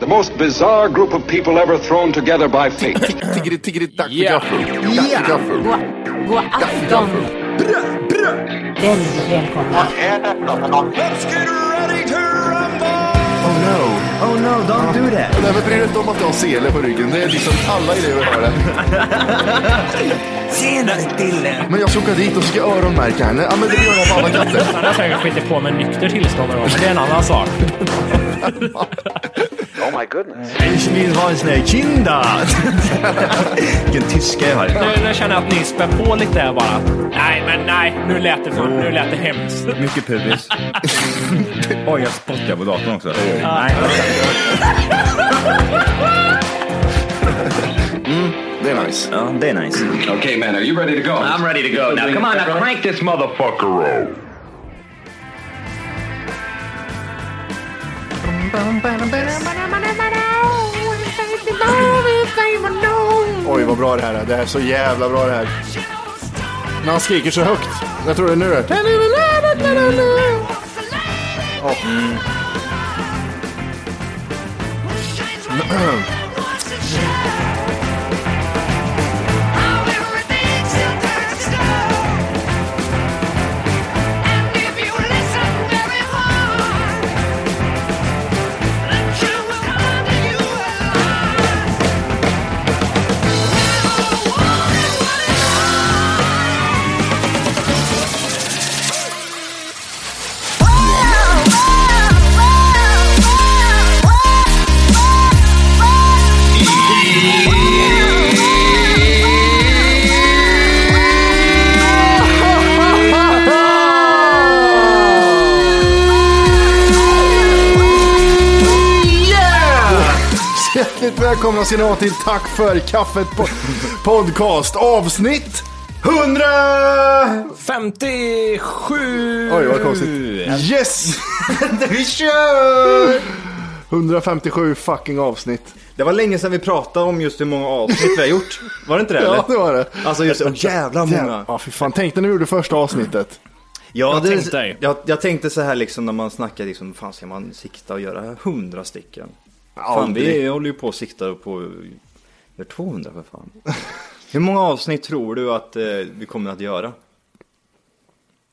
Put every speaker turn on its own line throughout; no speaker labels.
The most bizarre group of people ever thrown together by fate.
Tiggeri, tiggeri, dack för gaffel. Dack för gaffel.
God afton! Väldigt välkomna.
Oh no, oh no, don't do that.
Nej, men bry dig inte om att du har sele på ryggen. Det är liksom alla elever har det.
Tjenare Dille!
Men jag ska åka dit och ska öronmärka henne. Ja, men det gör jag på alla katter.
Han har säkert skitit på med nykter tillstånd någon gång, men det är en annan sak.
Ich vill ha en sån här kinda! Vilken tyska jag har.
Nu, nu känner jag att ni spär på lite här bara. Nej, men nej. Nu lät det, fan, nu lät det hemskt.
Mycket pubis. Oj, jag spottar på datorn också. Nej,
Det är nice.
ja, det är nice.
okay, man, are you ready to go? I'm ready to go. Now, come on, now crank this motherfucker up.
Oj, vad bra det här är. Det här är så jävla bra det här. När han skriker så högt. Jag tror det är nu.
Oh,
Hjärtligt välkomna ska ni ha till Tack för kaffet po- podcast avsnitt 100!
57!
Oj, vad konstigt. Yes! Vi kör! 157 fucking avsnitt.
Det var länge sedan vi pratade om just hur många avsnitt vi har gjort. Var det inte det?
Ja,
eller?
det var det.
Alltså just oh, jävla många.
Ja, fy fan. Tänk när du gjorde första avsnittet.
Ja,
Jag
det,
tänkte dig.
jag, jag tänkte så här liksom när man snackar liksom, fan ska man sikta och göra hundra stycken? fan,
aldrig.
vi håller ju på och siktar på, gör 200 för fan. hur många avsnitt tror du att eh, vi kommer att göra?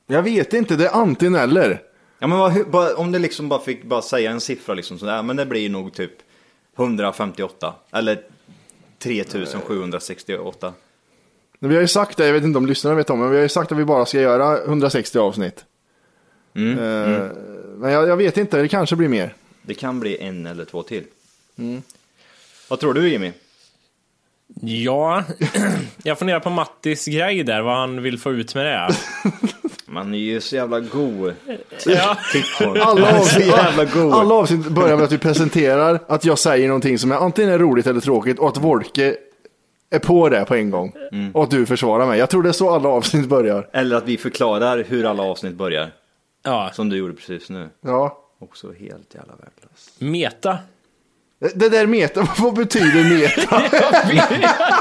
Jag vet inte, det är antingen eller.
Ja men vad, hur, bara, om du liksom bara fick bara säga en siffra liksom så där, men det blir nog typ 158 eller 3768.
Men Vi har ju sagt det, jag vet inte om lyssnarna vet om men vi har ju sagt att vi bara ska göra 160 avsnitt.
Mm,
Eh, Men jag, jag vet inte, det kanske blir mer.
Det kan bli en eller två till.
Mm.
Vad tror du Jimmy?
Ja, jag funderar på Mattis grej där, vad han vill få ut med det.
Man är ju så jävla Typ go.
Ja.
Alla
Så
avsnitt,
jävla god.
alla avsnitt börjar med att vi presenterar att jag säger någonting som är antingen är roligt eller tråkigt och att Wolke är på det på en gång.
Mm.
Och att du försvarar mig. Jag tror det är så alla avsnitt börjar.
Eller att vi förklarar hur alla avsnitt börjar.
ja,
Som du gjorde precis nu.
Ja.
Också helt jävla värdelöst.
meta.
Det där meta, vad betyder meta?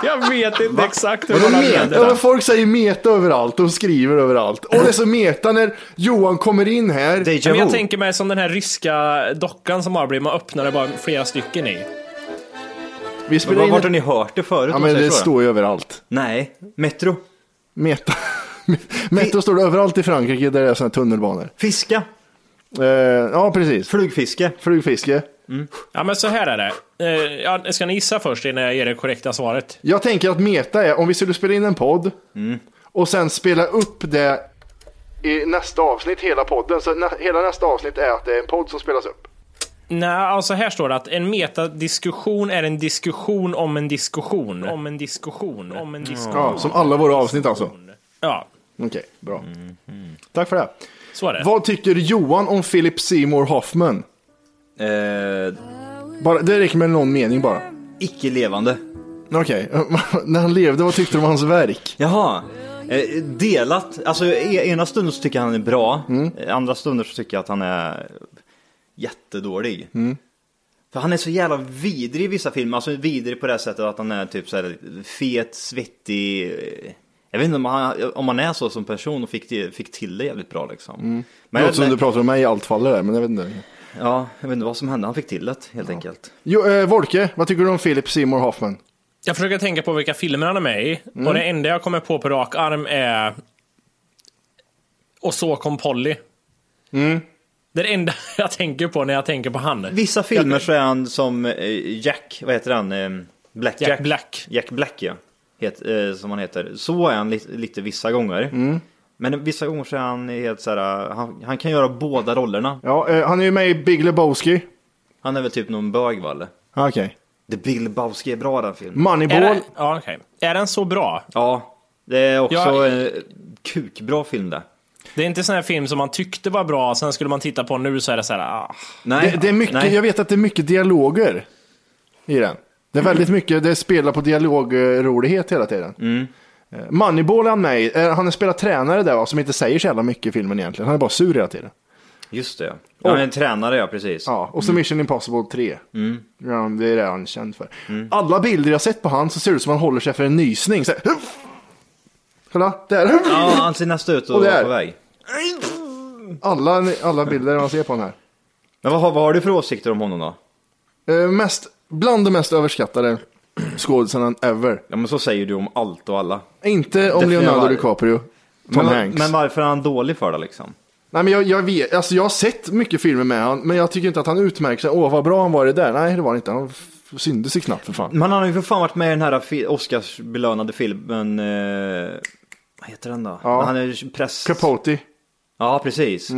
Jag vet inte exakt hur
Vadå
man
meta? Ja,
använder
men
det.
folk säger meta överallt och skriver överallt. Och det är så meta när Johan kommer in här.
Deja
Men jag
vu.
tänker mig som den här ryska dockan som bara blir, man öppnar det bara flera stycken i.
Vi
Men
spelar
var-
in
Vart har
ett...
ni hört det förut?
Ja
om
men
man säger
det
så?
står ju överallt.
Nej, Metro.
Meta. Meta står det överallt i Frankrike där det är sådana tunnelbanor.
Fiska.
Eh, ja, precis.
Flugfiske.
Flugfiske.
Ja, men så här är det. Eh, ja, ska ni gissa först innan jag ger det korrekta svaret?
Jag tänker att meta är om vi skulle spela in en podd
Mm.
och sen spela upp det i nästa avsnitt, hela podden. Så nä- hela nästa avsnitt är att det är en podd som spelas upp.
Nej, alltså här står det att en metadiskussion är en diskussion om en diskussion. Om en diskussion. Om en diskussion.
Ja, som alla våra avsnitt alltså. Okej,
Ja,
bra.
Mm-hmm.
Tack för det.
så är det.
Vad tycker Johan om Philip Seymour Hoffman?
Eh,
Bara, det räcker med någon mening bara.
icke levande.
Okej, när han levde, vad tyckte du om hans verk?
Jaha. Eh, delat. Alltså e- ena stunden så tycker jag han är bra.
Mm.
Eh, Andra stunder så tycker jag att han är jättedålig.
Mm.
För han är så jävla vidrig i vissa filmer. Alltså vidrig på det här sättet att han är typ så här fet, svettig. eh, Jag vet inte om han, om han är så som person och fick, det- fick till det jävligt bra liksom. Men
Något Mm. som
jag,
du pratar om mig i allt fall det där, men jag vet inte.
ja, jag vet inte vad som hände. Han fick till det helt enkelt.
Jo, eh, Volke, vad tycker du om Philip Seymour Hoffman?
Jag försöker tänka på vilka filmer han är med i. Och det enda jag kommer på på rak arm är... Och så kom Polly. Mm. Det är det enda jag tänker på när jag tänker på han.
Vissa filmer så är han som eh, Jack, vad heter han? Eh, Black
Jack
Jack.
Black.
Jack Black ja. Het, eh, som han heter. Så är han li- lite vissa gånger.
Mm.
Men vissa gånger så är han helt så här, eh, han, han kan göra båda rollerna.
Ja, eh, han är ju med i Big Lebowski. Ah,
Han är väl typ någon bög va eller?
Okej.
The Bill Lebowski är bra den
Mm.
filmen.
Är,
Moneyball.
den, ja, okej. är den så bra?
Ja, det är också
Ja.
eh, kukbra film det.
Det är inte sån här film som man tyckte var bra, sen skulle man titta på nu så är det så här... Ah.
Nej,
Det, det är mycket,
nej.
jag vet att det är mycket dialoger i den. Det är väldigt mycket, det spelar på dialogrolighet hela tiden.
Mm.
Eh, Moneyball är han med i. Eh, Han är spelat tränare där va, som inte säger så jävla mycket i filmen egentligen. Han är bara sur hela tiden.
Just det ja. Ja, men en tränare ja, precis.
Ja, och så
Mm.
Mission Impossible 3. Ja, det är det han är känd för.
Mm.
Alla bilder jag sett på han så ser det ut som han håller sig för en nysning. Så här, "Huff!" Kolla, där.
Ja, han ser nästan ut
Och
att
det
vara
är-
på väg.
Alla, alla bilder man ser på den här.
Men vad, har- vad har du för åsikter om honom då?
Eh, mest, bland de mest överskattade skådisarna ever.
Ja men så säger du om allt och alla.
Inte om
Det får jag
Leonardo
vara-
DiCaprio, Tom
Men,
Hanks.
men varför är han dålig för det liksom?
Nej, men jag, jag, vet, alltså, jag har sett mycket filmer med honom, men jag tycker inte att han utmärker sig. Åh, vad bra han var i det där. Nej, det var han inte. Han f- syndes ju knappt för fan.
Men han har ju för fan varit med i den här fi- Oscarsbelönade filmen, eh, vad heter den då?
Ja. Mm.
Han är ju press...
Capote.
Ja, precis. I-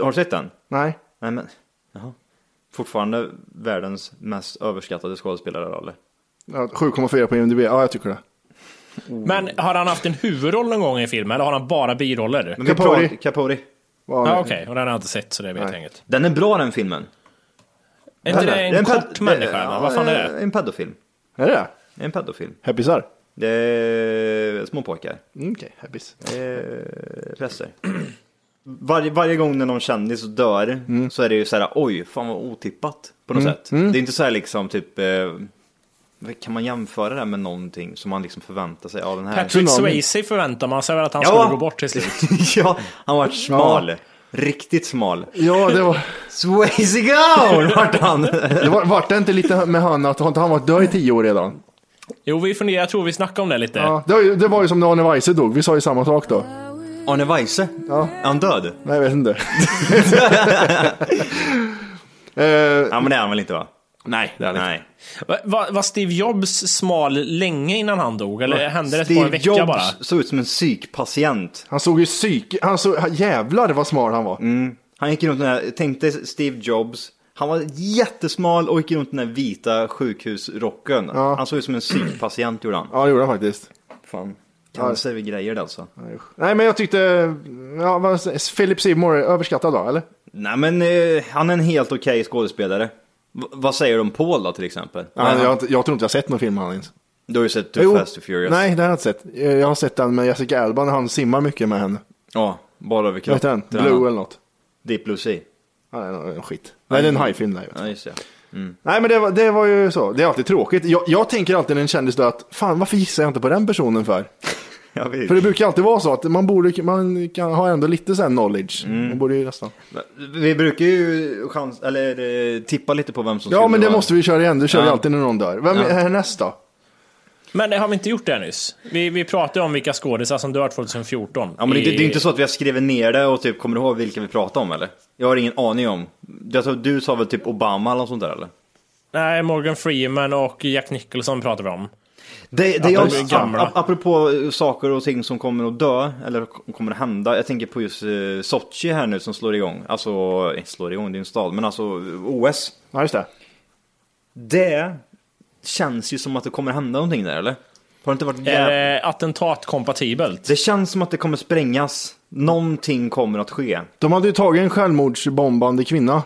Har du sett den?
Nej.
Nej men, jaha. Fortfarande världens mest överskattade skådespelare då, eller?
Ja, 7,4 på IMDB. Ja, jag tycker det.
Men har han haft en huvudroll någon gång i en film, eller har han bara biroller?
Men vi
Capote.
pratar- Capote.
Var-
Ja, Okej, och den har jag inte sett så det vet jag inget.
Den är bra den filmen.
Är inte det en,
ped-
kort människa?
ja,
va? Vad fan är det?
En pedofilm.
Är det
Det är En pedofilm.
Heppisar?
Det är småpojkar.
Mm, Okej, Eh, heppis.
Präster. Eh, Varje, varje gång när någon kändis dör så är det ju så här, oj, fan vad otippat på något sätt. Det är inte så här liksom typ, eh, vad- kan man jämföra det här med någonting som man liksom förväntar sig av den här?
Patrick
Tsunami.
Swayze förväntar man sig väl att han
Ja.
skulle gå bort till slut.
ja, han var smal. Riktigt smal.
Ja, det var...
Swayze gone vart han.
Det var, vart det inte lite med han att har inte han varit död i tio år redan?
Jo, vi funderar, jag tror vi snackade om det lite.
Ja, det, var ju, det var ju som när Arne Weise dog, vi sa ju samma sak då.
Arne Weise, är han död?
Nej, jag vet inte. Eh,
Ja men det är han väl inte va?
Nej, det
Nej.
Va- va- var Steve Jobs smal länge innan han dog? Eller hände det på en
Steve
vecka
Jobs
bara?
såg ut som en psykpatient.
Han såg ju psyk... Han såg... han- Jävlar vad smal han var.
Han gick runt den här, tänkte Steve Jobs. Han var jättesmal och gick runt den här vita sjukhusrocken. Han såg ut som en psykpatient gjorde han.
Ja, det gjorde han faktiskt.
Fan. Cancer ja. grejer det alltså.
Nej, men jag tyckte... Ja, vad... Philip Seymour är överskattad då, eller?
Nej men eh, han är en helt okej skådespelare. V- vad säger du om Paul då till exempel?
Nej, jag, har inte- jag tror inte jag har sett någon film med han ens.
Du har ju sett Too
Jo.
Fast and Furious.
Nej, det har jag inte sett. Eh, Jag har sett den med Jessica Alba när han simmar mycket med henne.
Ja, bara över
Vad heter den? Blue eller något.
Deep Blue Sea.
Ja, det är nog en skit. Nej, det är en hajfilm där. ju.
Ja just det.
Nej men det var, det var ju så, det är alltid tråkigt. Jag, jag tänker alltid när en kändis dör att fan varför gissar jag inte på den personen för?
Jag vet.
För det brukar alltid vara så att man borde, man kan ha ändå lite sån här knowledge. Man borde ju nästan.
Vi brukar ju chans, eller, eh, tippa lite på vem som
Ja
skulle
men det
vara-
måste vi köra igen, det kör vi
Ja.
alltid när någon dör. Vem
Ja.
är härnäst då?
Men det har vi inte gjort det nyss? Vi, vi pratade om vilka skådisar som dör 2014.
Ja, men det, det är
I-
ju inte så att vi har skrivit ner det och typ kommer ihåg vilka vi pratar om eller? Jag har ingen aning om. Jag tror du sa väl typ Obama eller något sånt där eller?
Nej, Morgan Freeman och Jack Nicholson pratar vi om.
Det, det
de
jag,
blir gamla.
ap- apropå eh, saker och ting som kommer att dö, eller k- kommer att hända. Jag tänker på just eh, Sochi här nu som slår igång. Alltså, eh, slår igång, det är en stad, men alltså OS.
Ja, just det.
Det känns ju som att det kommer att hända någonting där eller? Har det inte varit
Är
jävla...
det attentatkompatibelt?
Det känns som att det kommer sprängas. Någonting kommer att ske.
De hade ju tagit en självmordsbombande kvinna.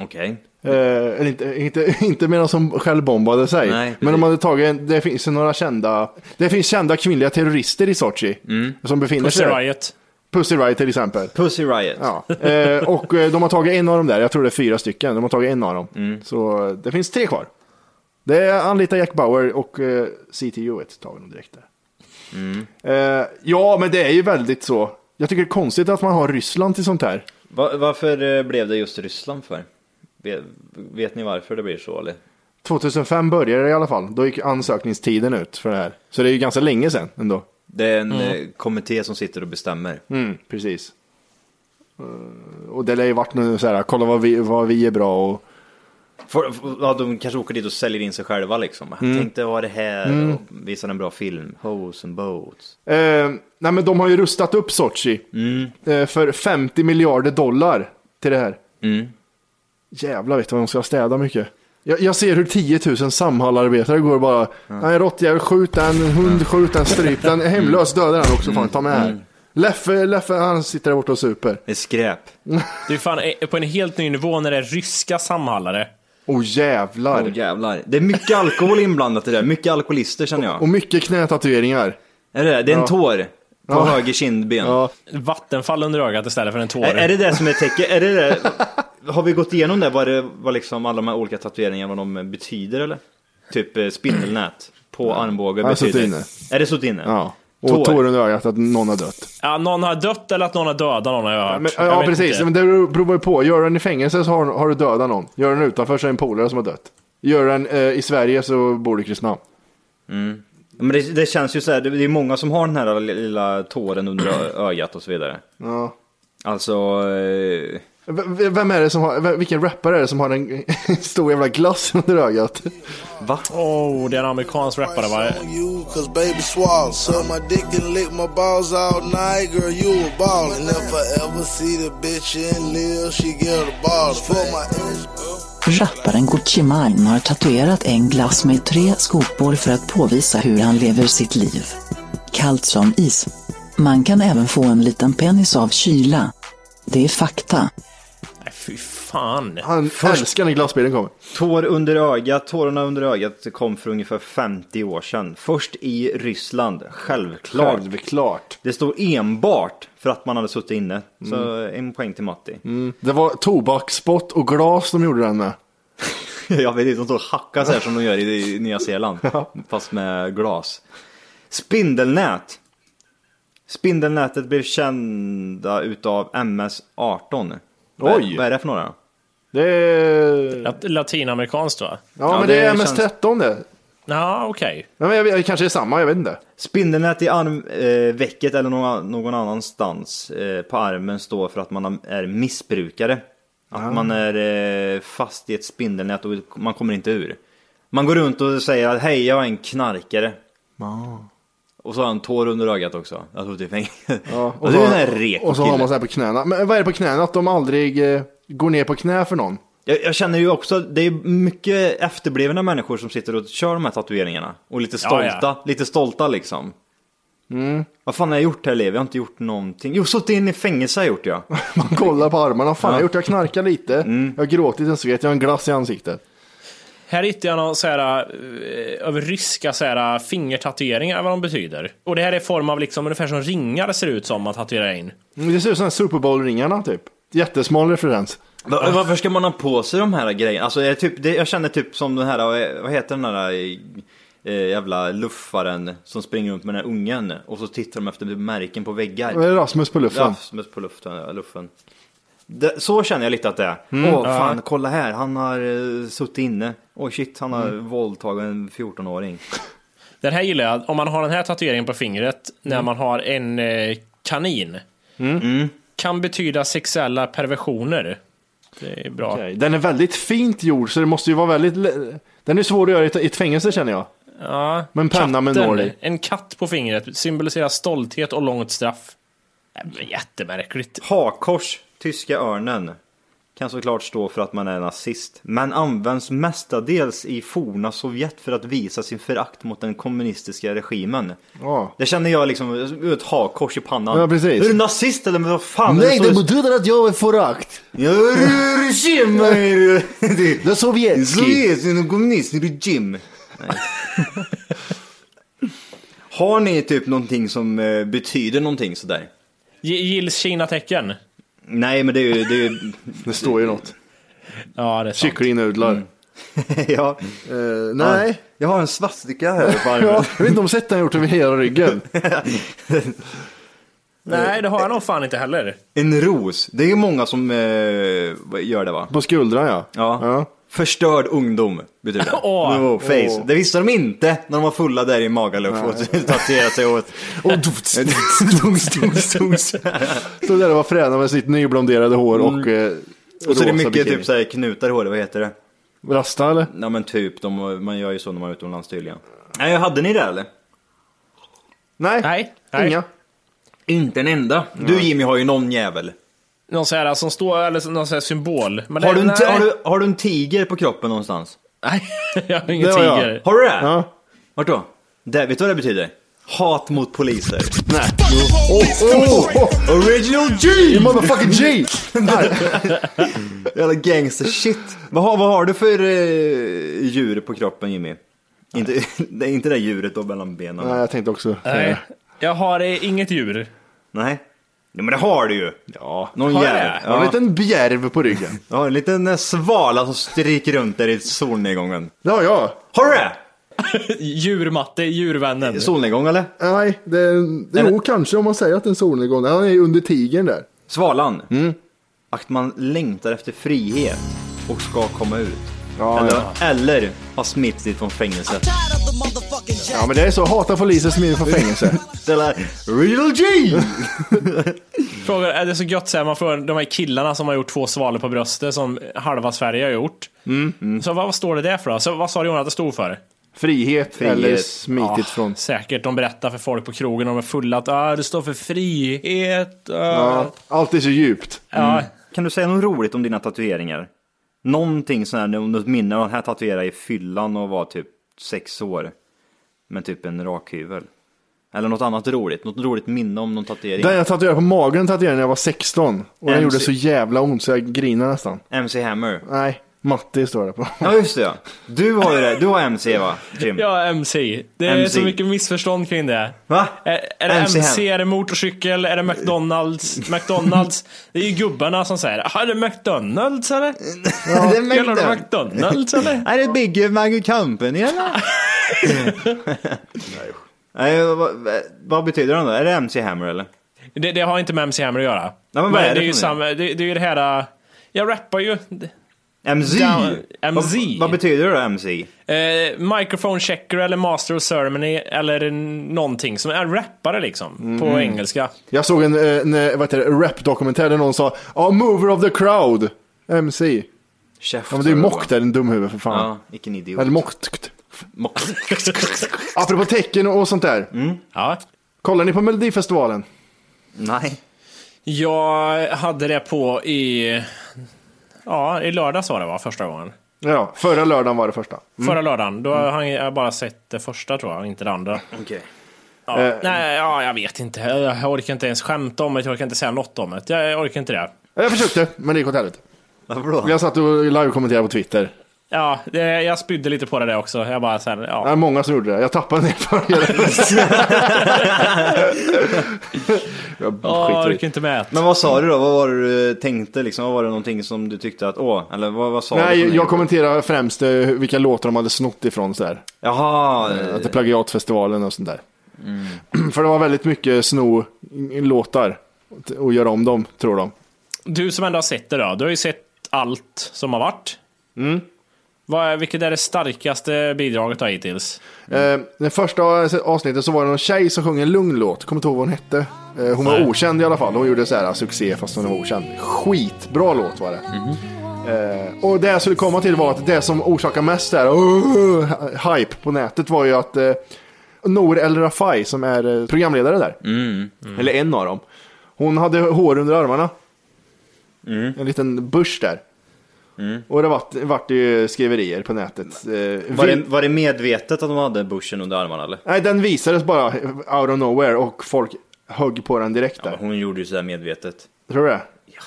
Okej.
Eh, eller inte, inte, inte med någon som självbombade sig.
Nej, precis.
men de hade tagit, en- det finns ju några kända, det finns kända kvinnliga terrorister i Sochi. Som befinner
Pussy
sig där.
Riot.
Pussy Riot till exempel.
Pussy Riot.
Ja. Eh, och eh, de har tagit en av dem där, jag tror det är fyra stycken. De har tagit en av dem. Så eh, det finns tre kvar. Det är anlita Jack Bauer och eh, CTU ett tag nu direkt där. Eh, ja, men det är ju väldigt så. Jag tycker det är konstigt att man har Ryssland till sånt här.
Va- varför eh, blev det just Ryssland för? Vet, vet ni varför det blir så eller?
2005 började det i alla fall. Då gick ansökningstiden ut för det här. Så det är ju ganska länge sedan ändå.
Det är en eh, kommitté som sitter och bestämmer.
Mm, precis. Eh, Och det lär ju varit nu så här, kolla vad vi, vad vi är bra och
Får- får- ja, de kanske åker dit och säljer in sig själva liksom.
Mm.
Tänkte ha det här och visar en bra film. Hoes and boats.
Eh, nej men de har ju rustat upp Sochi
Mm.
eh, för 50 miljarder dollar till det här.
Mm.
Jävlar vet du vad de ska städa mycket. Jag, jag ser hur 10 000 Samhallarbetare går och bara, nej råttjävel skjut den, hund skjut den, stryp den, hemlös döda den också fan, ta med
Mm.
här. Leffe, Leffe han sitter där borta och super.
Det är skräp.
Det är fan eh, på en helt ny nivå när det är ryska samhallare.
Åh jävlar.
Åh jävlar. Det är mycket alkohol inblandat i det där. Mycket alkoholister känner jag.
Och mycket knätatueringar.
Är det, det är en tår på höger kindben.
Ja.
Vattenfall under ögat istället för en tår.
Är, är det det som är tecken? Är det det? Har vi gått igenom det? Vad, det, vad liksom alla de här olika tatueringarna, vad de betyder eller? Typ eh, spindelnät på armbågen
Ja, jag har
betyder.
suttit inne.
Är det suttit inne?
ja.
Tår.
Och tår under ögat att någon har dött.
Ja, någon har dött eller att någon har dödat någon har jag hört.
Men,
Jag
ja,
vet
precis.
inte.
Men det beror ju på. Gör den i fängelse så har, har du dödat någon. Gör den utanför så är det en polare som har dött. Gör den eh, i Sverige så bor du i Kristinehamn.
Men det, det känns ju så här, det, det är många som har den här lilla tåren under ö- ögat och så vidare.
Ja.
Alltså, eh,
V- v- vem är det som har, v- vilken rappare är det som har en stor jävla glass under ögat?
Oh, det är en amerikansk rappare va?
you, cause baby swallow. Suck my dick and lick my balls all night, girl, you a ball. And if I ever see the bitch in live, she get a ball. Fuck my ex.
Rapparen Gucci Mane har tatuerat en glass med tre skopor för att påvisa hur han lever sitt liv. Kallt som is. Man kan även få en liten penis av kyla. Det är fakta.
Nej, fy fan.
Han älskar när glassbilen kommer.
tår under ögat, tårarna under ögat kom för ungefär 50 år sedan. Först i Ryssland, självklart.
Självklart.
Det stod enbart för att man hade suttit inne. Så
Mm.
eh, en poäng till Matti.
Det var tobaksspott och glas de gjorde den med.
Jag vet inte, de står och hackar så här som de gör i, i Nya Zeeland. Fast med glas. Spindelnät. Spindelnätet blev kända utav MS-18. Vad-
Oj.
Vad är det för några?
Det är... Ja,
Lat- Latinamerikanskt va?
men
det
det är
känns-
MS-13 det.
Ja, okej.
Ja, men jag, vet- det kanske är samma, jag vet inte.
Spindelnät i armvecket eh, vecket eller någon, någon annanstans eh, på armen står för att man är missbrukare. Att man
Ah.
är eh, fast i ett spindelnät och man kommer inte ur. Man går runt och säger att hej, jag är en knarkare.
Ah.
Och så har han tår under ögat också. Jag tror det är fängelse. Ja, och det är en här reko
och så har
kille.
man så här på knäna. Men vad är det på knäna? Att de aldrig eh, går ner på knä för någon?
Jag, jag känner ju också, det är mycket efterblivna människor som sitter och kör de här tatueringarna. Och lite
Ja,
stolta,
ja.
lite stolta liksom.
Mm.
Vad fan har jag gjort här i livet? Jag har inte gjort någonting. Jo, suttit in i fängelse har jag gjort ja.
Man kollar på armarna. Fan, jag har gjort, jag knarkar lite.
Mm.
Jag har gråtit en svet, jag har en glass i ansiktet.
Här hittade jag någon så här, eh, över ryska så här, fingertatueringar, vad de betyder. Och det här är i form av liksom, ungefär som ringar ser ut som att tatuera in.
Mm, Det ser ut som de här Super Bowl-ringarna typ. Jättesmal referens.
Va- Varför ska man ha på sig de här grejerna? Alltså, jag, är typ, det, jag känner typ som den här, eh, vad heter den här eh, jävla luffaren som springer runt med den här ungen. Och så tittar de efter märken på väggar.
Vad är det, Rasmus på luften.
Rasmus på luften, ja, luffen. Det, så känner jag lite att det är. Åh
Mm.
fan, kolla här, eh,
Mm.
han har uh, suttit inne. Oj shit, han har våldtagit en 14-åring.
Den här gillar jag. Om man har den här tatueringen på fingret när
Mm.
man har en eh, kanin. Kan betyda sexuella perversioner. Det är bra.
Okej, Den är väldigt fint gjord så det måste ju vara väldigt... le- Den är svår att göra i ett- i ett fängelse känner jag.
Ja.
Men penna med nål i.
En katt på fingret symboliserar stolthet och långt straff. Nej, men Jättemärkligt.
Hakors, tyska örnen, kan såklart stå för att man är nazist, men används mestadels i forna Sovjet för att visa sin förakt mot den kommunistiska regimen.
Ja.
Det känner jag liksom, ett hakkors i pannan.
Ja, precis.
Är du nazist eller vad fan? det står-
betyder att jag är förakt.
Ja, du- du Jim, är du- du-
Det är sovjetski.
Sovjet, du är kommunist, är du Jim? Nej. Har ni typ någonting som eh, betyder någonting sådär?
G- Gills Kina-tecken.
Nej, men det är ju... Det är ju
Det står ju något.
Ja, det är sant.
Kycklingnudlar.
ja.
Eh, nej.
Jag har en svastika här på
Ja, jag
armen.
vet inte om sättet han gjort över hela ryggen.
Nej, det har jag nog fan inte heller.
En ros. Det är ju många som eh, gör det va?
På skuldran ja.
Ja. Förstörd ungdom betyder det.
Åh.
no face. Det visste de inte när de var fulla där i Magaluf och tatuerade sig åt...
Och dots, dots, dots, dots. Så där var fräna med sitt nyblonderade hår och eh,
Och så är
rosa
det mycket
bikini.
typ så här knutar i håret, vad heter det?
Rasta eller?
Ja men typ, de, man gör ju så när man är utomlands tydligen. Nej, hade ni det eller?
Nej.
Nej, nej.
Inga.
Inte en enda. Du Jimmy har ju någon jävel.
Någon så här som står, eller någon så här symbol. Men
Har
det,
du, en,
nej.
har, du, har du en tiger på kroppen någonstans?
Nej, jag har ingen
Det har jag.
tiger.
Har du det?
Ja.
Vart då? Det, vet du vad det betyder? Hat mot poliser.
Nej. Oh, oh, oh.
Original G!
You motherfucking G!
Jävla gangster shit. Vad har, vad har du för eh, djur på kroppen Jimmy? Inte, det är inte det där djuret då mellan benen.
Nej,
Nej.
jag tänkte också.
Nej, jag har eh, inget djur.
Nej. men det har du ju. Ja. Någon
Har jag
jävel.
det?
Jag har
Ja.
en liten bjärv på ryggen.
Du har en liten eh, svala som stryker runt där i solnedgången.
Det har jag.
Har du det?
Djurmatte, djurvännen.
Solnedgång eller?
Eh, Nej, det, det, jo kanske om man säger att en solnedgång. Han är ju under tigern där.
Svalan. Att man längtar efter frihet och ska komma ut.
Ja,
eller,
ja.
eller ha smittit från fängelset.
ja men det är så. Hata poliser, smid från fängelse.
Eller Real G!
Frågar, är det så gött så här, man får de här killarna som har gjort två svalor på bröstet som halva Sverige har gjort.
Mm,
Så vad, vad står det där för då? Så, vad sa du Jonas att det stod för?
Frihet, Ah. eller
Frihet.
smitit från.
Säkert, de berättar för folk på krogen, de är fulla att ah, det står för frihet. ah."
Ja, allt är så djupt.
Ja,
Kan du säga något roligt om dina tatueringar? Någonting sån här, om du minner den här tatuerade i fyllan och var typ sex år. Med typ en rakhyvel. Eller något annat roligt, något roligt minne om någon tatuering.
Den jag tatuerade på magen tatuerade jag när jag var 16. Och den
MC.
gjorde så jävla ont så jag grinade nästan.
MC Hammer.
Nej, Matti står det på.
Ja just det ja. Du har ju det, du har MC va? Jim?
ja MC. Det är
MC.
så mycket missförstånd kring det.
Va?
Är, är det
MC
MC,
hem.
är det motorcykel, är det McDonalds? McDonalds, det är ju gubbarna som säger "Ah, är det McDonalds eller?
det är
Gillar du
mäktigt.
McDonalds eller?
Är det Big Mac Company eller? Nej, vad, vad betyder den då? Är det MC Hammer eller?
Det, det har inte med MC Hammer att göra.
men vad är det
det, är
för
ju
något?
samma, det, det är ju det här... äh, Jag rappar ju.
MZ?
Down- MZ.
Vad, vad betyder det då MC?
Eh, microphone checker eller master of ceremony eller n- någonting som är rappare liksom.
Mm,
På engelska.
Jag såg en, eh, en vad heter det, rap-dokumentär där någon sa ja, mover of the crowd. MC.
Chef,
Ja men det är ju mock där, en dumhuvud för fan.
Ja, vilken idiot.
Eller mockt.
Mock.
Apropå tecken och sånt där.
Mm.
Ja.
Kollar ni på Melodifestivalen?
Nej.
Jag hade det på i... Ja, i lördags var det va, första gången.
Ja, förra lördagen var det första.
Mm.
Förra lördagen. Då har jag bara sett det första tror jag, inte det andra.
Okej.
Ja,
Eh.
Nej, ja, jag vet inte. Jag orkar inte ens skämta om det. Jag orkar inte säga något om det. Jag orkar inte det.
Jag försökte, men det gick åt helvete.
Varför då?
Jag satt och live-kommenterade på Twitter.
Ja, det, jag spydde lite på det där också. Jag bara såhär,
Det är
ja.
många som gjorde det. Jag tappade ner följare. jag
Åh, Jag
skiter i
orkar
det.
inte med det.
Men vad sa du då? Vad var det du tänkte liksom? Vad var det någonting som du tyckte att, åh, eller vad, vad sa du?
Nej,
för
jag
någonting?
kommenterade främst eh, vilka låtar de hade snott ifrån. Så där.
Jaha.
Eh, Att det är plagiatfestivalen och sånt där. För det var väldigt mycket sno låtar och göra om dem, tror de.
Mm.
Du som ändå har sett det då. Du har ju sett allt som har varit. Vad är, vilket är det starkaste bidraget då hittills?
Eh, den första avsnittet så var det någon tjej som sjöng en lugn låt. Kommer inte ihåg vad hon hette. Eh, hon var
Nej.
okänd i alla fall. Hon gjorde så här eh, succé fast hon var okänd. Skitbra låt var det. Eh, och det jag skulle komma till var att det som orsakar mest så här, "Åh!" hype på nätet var ju att eh, Nour El Rafai som är eh, programledare där.
Mm.
Mm. Eller en av dem. Hon hade hår under armarna.
Mm.
En liten busch där. Och det vart, vart det ju skriverier på nätet. Eh,
Var det,
vill-
var det medvetet att de hade bushen under armarna eller?
Nej, den visades bara out of nowhere och folk högg på den direkt där.
Ja, hon gjorde ju sådär medvetet.
Tror du det?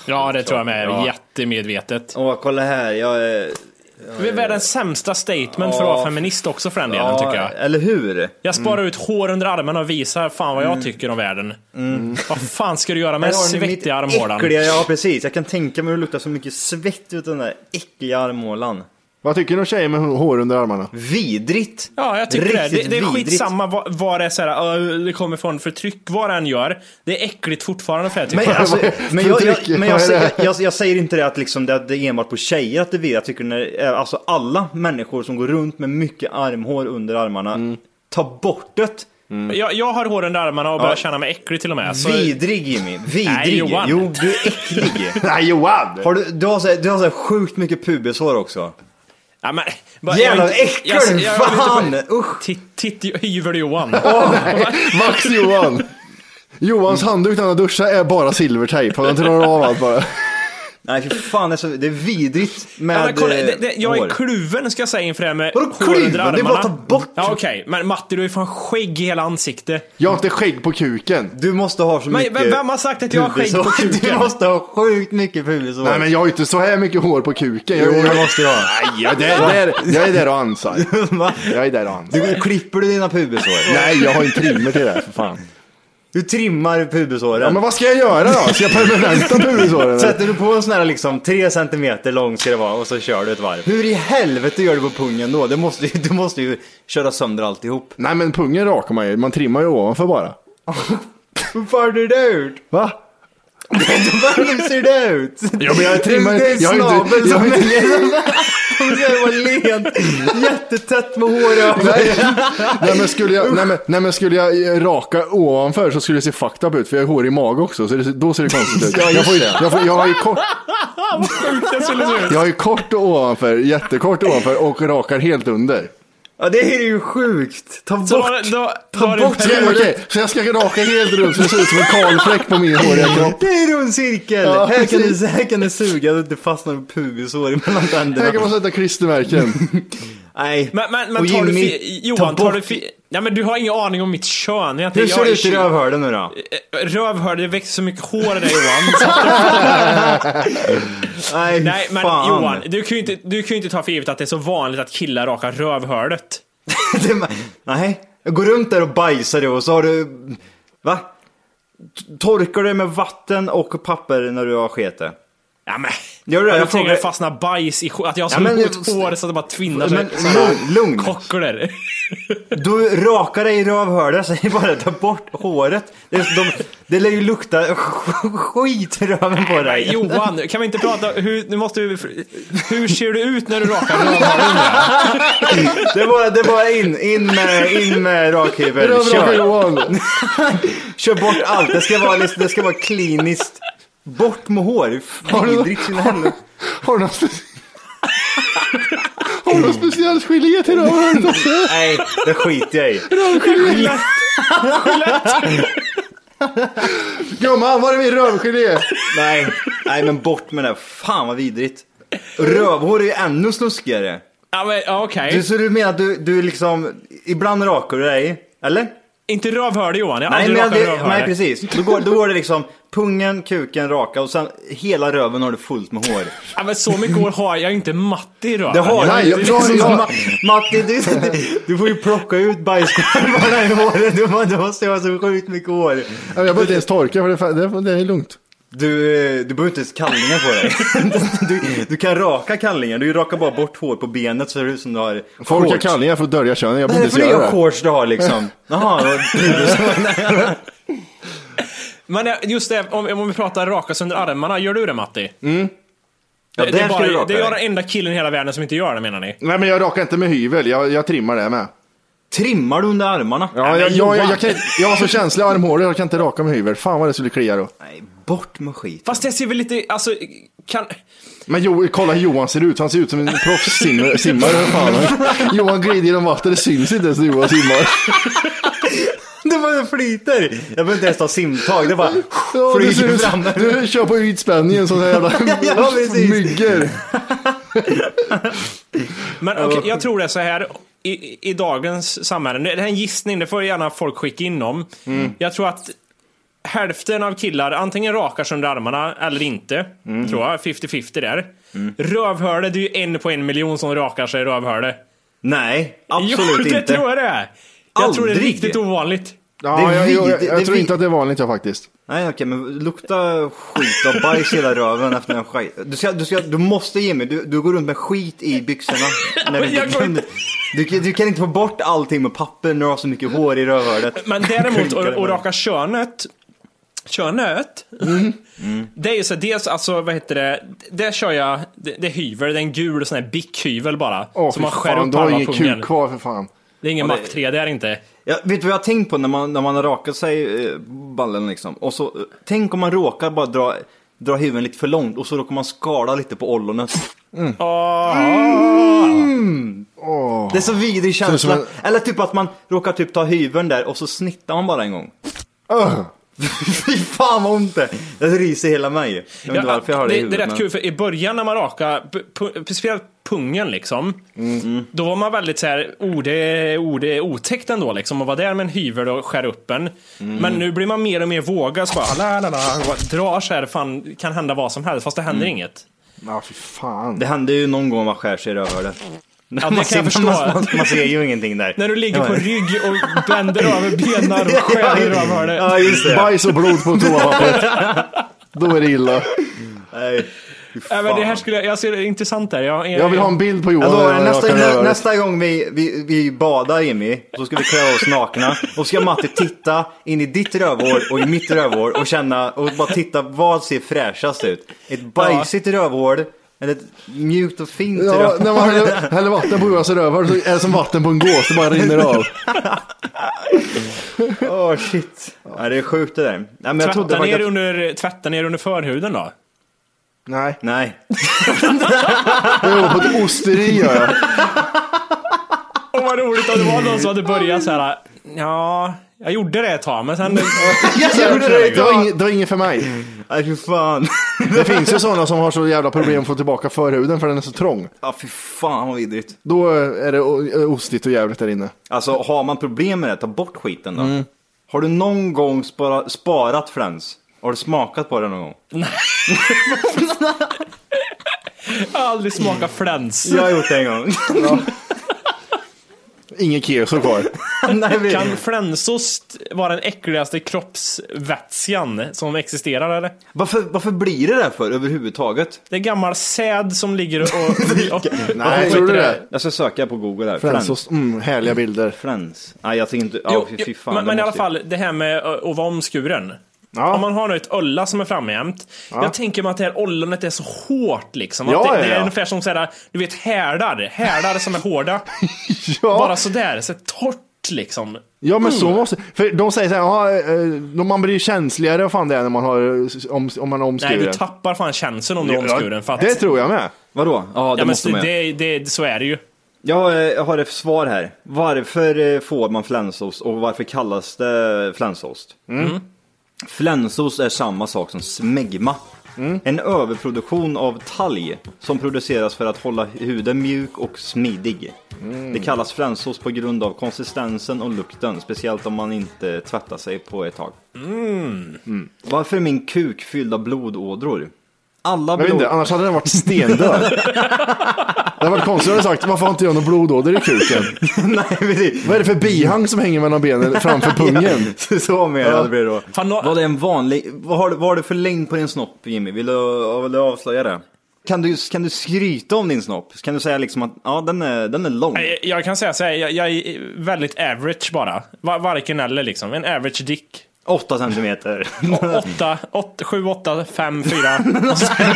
Ja, det tror jag med.
Ja.
Jättemedvetet.
Åh, kolla här. Jag, eh,
Det är världens sämsta statement för att
Ja. Mm.
vara feminist också för den delen, tycker jag.
Eller hur?
Jag sparar ut hår under armarna och visar fan vad jag
Mm.
tycker om världen. Vad fan ska du göra med
ni Mm. mitt
svettiga armhålan?
Äckliga, ja precis. Jag kan tänka mig hur det luktar så mycket svett ut den där äckliga armhålan.
Vad tycker du om tjejer med hår under armarna?
Vidrigt!
Ja, jag tycker det.
Riktigt
Det, det är
vidrigt.
skitsamma vad, vad det är så här, "Ö, det kommer från förtryck, vad den gör. Det är äckligt fortfarande för jag tycker
Men,
jag.
alltså, men, jag,
Förtryck,
jag, men jag,
vad är
säger-
det?
jag, jag, jag säger inte det att, liksom, det, att det är enbart på tjejer att det är vidrigt. Jag tycker när, eh, alltså alla människor som går runt med mycket armhår under armarna,
Mm.
ta bort det!
jag, jag har hår under armarna och börjar känna mig äcklig till och med. Så,
Vidrig Jimmy, vidrig!
Nej, Johan.
Jo, du är äcklig!
Nej, Johan!
Har du, du har så, här- du har så här sjukt mycket pubishår också.
ja, men, bara-
Jävla
jag- jag-
äckel, fan,
lite på-
usch.
Titt, titt, Yver-Johan.
Max Johan! Johans handduk när han duschar är bara silvertejp. Han drar av allt bara.
Nej för fan, det är, så, det är vidrigt med
Ja, men kolla,
eh,
det, det, jag
hår.
är kluven ska jag säga inför det här med
Vadå
hår
kluven?
under
Det är bara att
armarna.
ta bort.
Ja, okej. Men Matti, du är fan skägg i hela ansiktet.
Jag har inte skägg på kuken.
Du måste ha så
Men
mycket
vem- vem har sagt att jag har skägg på
pubishår? Du
kuken?
måste ha sjukt mycket pubishår.
Nej, men jag har ju inte så här mycket hår på kuken. Jag,
Jo, det
jag,
måste jag ha.
jag, där, där, jag är där och ansar.
Va?
Jag är där och ansar.
Du, klipper du dina pubishår?
Nej, jag har en trimmer till det här, för fan.
Du trimmar pubishåren.
Ja, men vad ska jag göra då? Ska jag permanenta pubishåren?
Sätter du på en sån här liksom, tre centimeter lång ska det vara och så kör du ett varv. Hur i helvete gör du på pungen då? Du måste, ju- du måste ju köra sönder alltihop.
Nej, men pungen rakar man ju. Man trimmar ju ovanför bara.
Varför har du det ut?
Va?
Varför ser det ut?
Ja, men jag trimmar
Det är en
jag har inte-
snabel
jag har
som
inte-
är så var len. Jättetätt med hår över.
Nej, nej, men skulle jag, nej, men, nej men skulle jag raka ovanför så skulle det se fucked up ut för jag har hår i mage också. Så det, då ser det konstigt ut. Jag, får, ju- jag, får, jag, har ju kort,
Det skulle se ut.
jag har ju kort ovanför, jättekort ovanför och rakar helt under.
Ja, det är ju sjukt. Ta
Så
bort.
då, då, då
Ta
har du en
bort
period-
Så, okej, så jag ska raka helt runt så det ser ut som en kalfläck på min håriga kropp.
Det är en rund cirkel.
Ja,
här, kan
precis.
du, här kan du suga så att det fastnar en pubishår mellan
Här kan man
tänderna.
sätta klistermärken.
Nej.
Men, men,
Och
men tar du
Jimmy,
fi- Johan,
ta
tar
bort.
du fi- Ja, men du har ingen aning om mitt kön. Jag,
Hur ser
jag,
det ut i rövhålet nu
Eh,
då?
Rövhör, det växer så mycket hår i dig Johan. Så,
Nej,
nej, men
fan.
Johan, du kan, ju inte, du kan ju inte ta för givet att det är så vanligt att killar rakar rövhålet.
Det är- Nej, jag går runt där och bajsar och så har du... Va? T- Torkar du med vatten och papper när du har sketet?
Ja, men.
Gör du det?
Jag,
Jag
jag tänker
frågar...
att fastna bajs i sk- Att jag har
Ja,
så
men-
gott hår så att det bara tvinnar sig.
Men lugn, lugn.
Kockler.
Du rakar dig i rövhålet, säger bara ta bort håret. Det, är- de, det lär ju lukta skit i röven på dig.
Johan, kan vi inte prata, hur, nu måste vi, hur ser du ut när du rakar rövhålet?
Det är bara, det är bara in, in med, in med rakhyveln.
Rövrakar
Kör,
Johan.
kör bort allt. Det ska vara, liksom- det ska vara kliniskt. Bort med hår.
Har du-
Vidrigt sina händer.
Har du någon speciell... Har du någon speciell gelé till rövhålet också?
Nej, det skiter jag i.
Gumman, var är min rövgelé?
Nej, nej men bort med det. Fan vad vidrigt. Rövhår är ju ännu snuskigare.
Ja, men ja, okej.
Du, så du menar att du, du liksom, ibland rakar du dig, eller?
Inte rövhörde Johan, jag har
Nej,
aldrig
men
rakat
det, nej
rövhörde.
precis. Då går, då går det liksom pungen, kuken, raka och sen hela röven har du fullt med hår.
Ja, men så mycket hår har jag inte matte i röven.
Det har
Nej,
du
jag-
inte. Liksom,
jag-
Ma- Matti, du, du får ju plocka ut bajskorvarna i håret. Du, må- du måste ha så sjukt mycket hår.
Jag behöver inte ens torka för det, fa- det, det är lugnt.
Du, eh, du behöver inte ens kallingar på dig. Du, du kan raka kallingar. Du rakar bara bort hår på benet så ser det ut som du har
Folk har
shorts.
kallingar för att dölja könet. Jag
Vad är
behöver
det
inte ens
för
göra
nya
det.
shorts du har liksom? Jaha, vad- Mm,
Men eh, just det, om, om vi pratar raka sönder armarna, gör du det Matti?
Ja,
det,
där
det, är
ska du
bara,
raka
det är jag
dig.
den enda killen i hela världen som inte gör det menar ni?
Nej, men jag rakar inte med hyvel. Jag, jag trimmar det med.
Trimmar du under armarna?
Ja, jag, jag, jag, jag, kan, jag har så känsliga armhålor, jag kan inte raka med hyvel. Fan vad det skulle klia då.
Nej, bort med skit.
Fast det ser väl lite, alltså, kan...
Men jo, kolla hur Johan ser ut. Han ser ut som en proffssimmare. simmare, för fan. Johan glider genom vattnet, det syns inte ens när Johan simmar.
Det bara flyter. Jag behöver inte ens ta simtag. Det bara
Ja, du, ser
flyger
ut,
fram.
du kör på ytspänningen sån här jävla
Ja, precis.
myggor.
Men okej, jag tror det är så här i- i, i dagens samhälle. Det här är en gissning, det får gärna folk skicka in om.
Mm.
Jag tror att hälften av killar antingen rakar sig under armarna eller inte.
Mm.
Tror jag, 50-50 där. Rövhörde, det är ju en på en miljon som rakar sig i rövhörde.
Nej, absolut
jo, det
inte.
tror jag det är. Jag tror det är
Aldrig.
riktigt ovanligt.
Ja,
Det är
jag, jag, jag,
vid- det är
tror
vid-
inte att det är vanligt jag faktiskt.
Nej, okej, men lukta skit och bajs i hela röven efter en skit. Du, ska, du, ska, du måste Jimmy, du, du går runt med skit i byxorna. När du,
Jag går
du,
inte-
du, du kan inte få bort allting med papper när du har så mycket hår i rövhålet.
Men däremot
Klinkar det
att
bara.
raka könet. Könet? Det är ju så här, dels alltså, vad heter det? Det kör jag, det, det är hyvel, det är en gul sån här bickhyvel bara.
Åh,
som man
fy
skär
fan,
upp
du har
halva
ingen
pungen.
kuk kvar för fan.
Det är ingen
Ja, det-
Mac 3, det är det inte.
Ja, vet du vad jag har tänkt på när man, när man har rakat sig eh, ballen liksom? Och så, eh, tänk om man råkar bara dra, dra huvudet lite för långt och så råkar man skala lite på ollonet.
Åh.
Det är så vidrig
Känns som
känsla. Eller typ att man råkar typ ta hyveln där och så snittar man bara en gång.
Öh.
Fy fan vad ont det Det ryser hela mig. Jag vet inte varför jag har det, i
det, det
huvudet.
är rätt
men-
kul, för i början när man rakade, p- pu- speciellt pungen liksom, då var man väldigt så här, oh det, är- oh, det är otäckt ändå liksom, och var där med en hyvel och skär upp en. Men nu blir man mer och mer vågad, så bara, la, la, la, och bara drar så här, fan, kan hända vad som helst, fast det händer
Mm.
inget.
Ja, fy fan.
Det händer ju någon gång man skär sig i rövhålet.
kan jag förstå.
Man, man, man ser ju ingenting där.
När du ligger på
Ja,
rygg och bänder över benen och
ja,
skär i rövhålet.
Ja, just det.
Bajs och blod på toapappret. Då är det illa.
Nej, fy
Ja, men det här
fan.
skulle jag, jag ser det intressant där. Jag,
Jag vill ha en bild på Johan. eh,
Jag lovar,
när jag
Alltså, nästa,
rakar
nä,
röret.
nästa gång vi, vi, vi badar Jimmy, så ska vi klä oss nakna. Och ska Matti titta in i ditt rövhål och i mitt rövhål och känna, och bara titta vad ser fräschast ut. Ett bajsigt rövhål, eller ett mjukt och fint
Ja,
rövhål.
när man häller, häller vatten på Johans rövhål så är det som vatten på en gås, det bara rinner av.
Åh shit. Ja, det är sjukt det där. Nej, men jag trodde
Tvätta ner,
faktiskt... att-
under, tvätta ner under förhuden då.
Nej,
Nej.
jag jobbar på ett osteri gör jag.
Åh vad roligt om det var någon som hade börjat så här. Ja, jag gjorde det ett tag men sen...
Jag gjorde det
Det
idag.
var, ing, det var inget för mig.
Nej, fy fan.
Det finns ju sådana som har så jävla problem att få tillbaka förhuden för den är så trång.
Ja, fy fan vad vidrigt.
Då eh, är det o- ostigt och jävligt där inne.
Alltså, har man problem med det, ta bort skiten då.
Mm.
Har du någon gång spara, sparat Friends? Har du smakat på det någon gång?
Jag har aldrig smakat fläns.
Jag har gjort det en gång.
Ingen keso kvar.
Nej, vi...
Kan flänsost vara den äckligaste kroppsvätskan som existerar eller?
varför, varför blir det där för överhuvudtaget?
Det är gammal säd som ligger och... och, och
Nej, tror du det?
Jag ska söka på Google här. Friends.
Fransos, mm, härliga bilder.
Friends. Nej, jag tänker inte... Ja,
Jo,
fy,
jo,
fy fan.
men
det
men i alla
måste ju-
fall, det här med ö, att vara omskuren.
Ja.
Om man har nu ett ölla som är framme jämt. Jag tänker mig att det här ollonet är så hårt liksom. Att
Ja,
det,
ja,
det är
ja.
ungefär som sådär, du vet härdar. Härdar som är hårda. Bara
Ja,
sådär, så torrt liksom.
ja men så måste För de säger så här, "Ja, eh, de- man blir ju känsligare vad fan det är när man, har, eh, om, om man är
Nej,
omskuren.
du tappar fan känslan om du är omskuren. För att,
Det tror jag med.
Vadå? Ja, det
ja, men
måste man
det,
ju.
det, det, så är det ju.
Jag har, eh, jag har ett svar här. Varför eh, får man flänsost och varför kallas det flänsost?
Mm.
Flänsost är samma sak som smegma.
Mm.
En överproduktion av talg som produceras för att hålla huden mjuk och smidig.
Mm.
Det kallas flänsost på grund av konsistensen och lukten, speciellt om man inte tvättar sig på ett tag. Mm. Varför är min kuk fylld av blodådror? Alla
Jag vet
blod...
inte, annars hade den varit stendöd. det hade varit konstigt om jag sagt, varför har inte jag någon blodåder i kuken?
Nej, precis.
Vad är det för bihang som hänger mellan benen framför pungen?
Ja, så menar jag det blir då.
Fan, nå-
Vad är en vanlig, vad har, du- vad har du för längd på din snopp Jimmy? Vill du, vill du avslöja det? Kan du, kan du skryta om din snopp? Kan du säga liksom att ja, den är, den är lång?
Jag, jag kan säga så här, jag, jag är väldigt average bara. Va- Varken eller liksom. En average dick.
8 centimeter.
8, 8, 7, 8, 5, 4.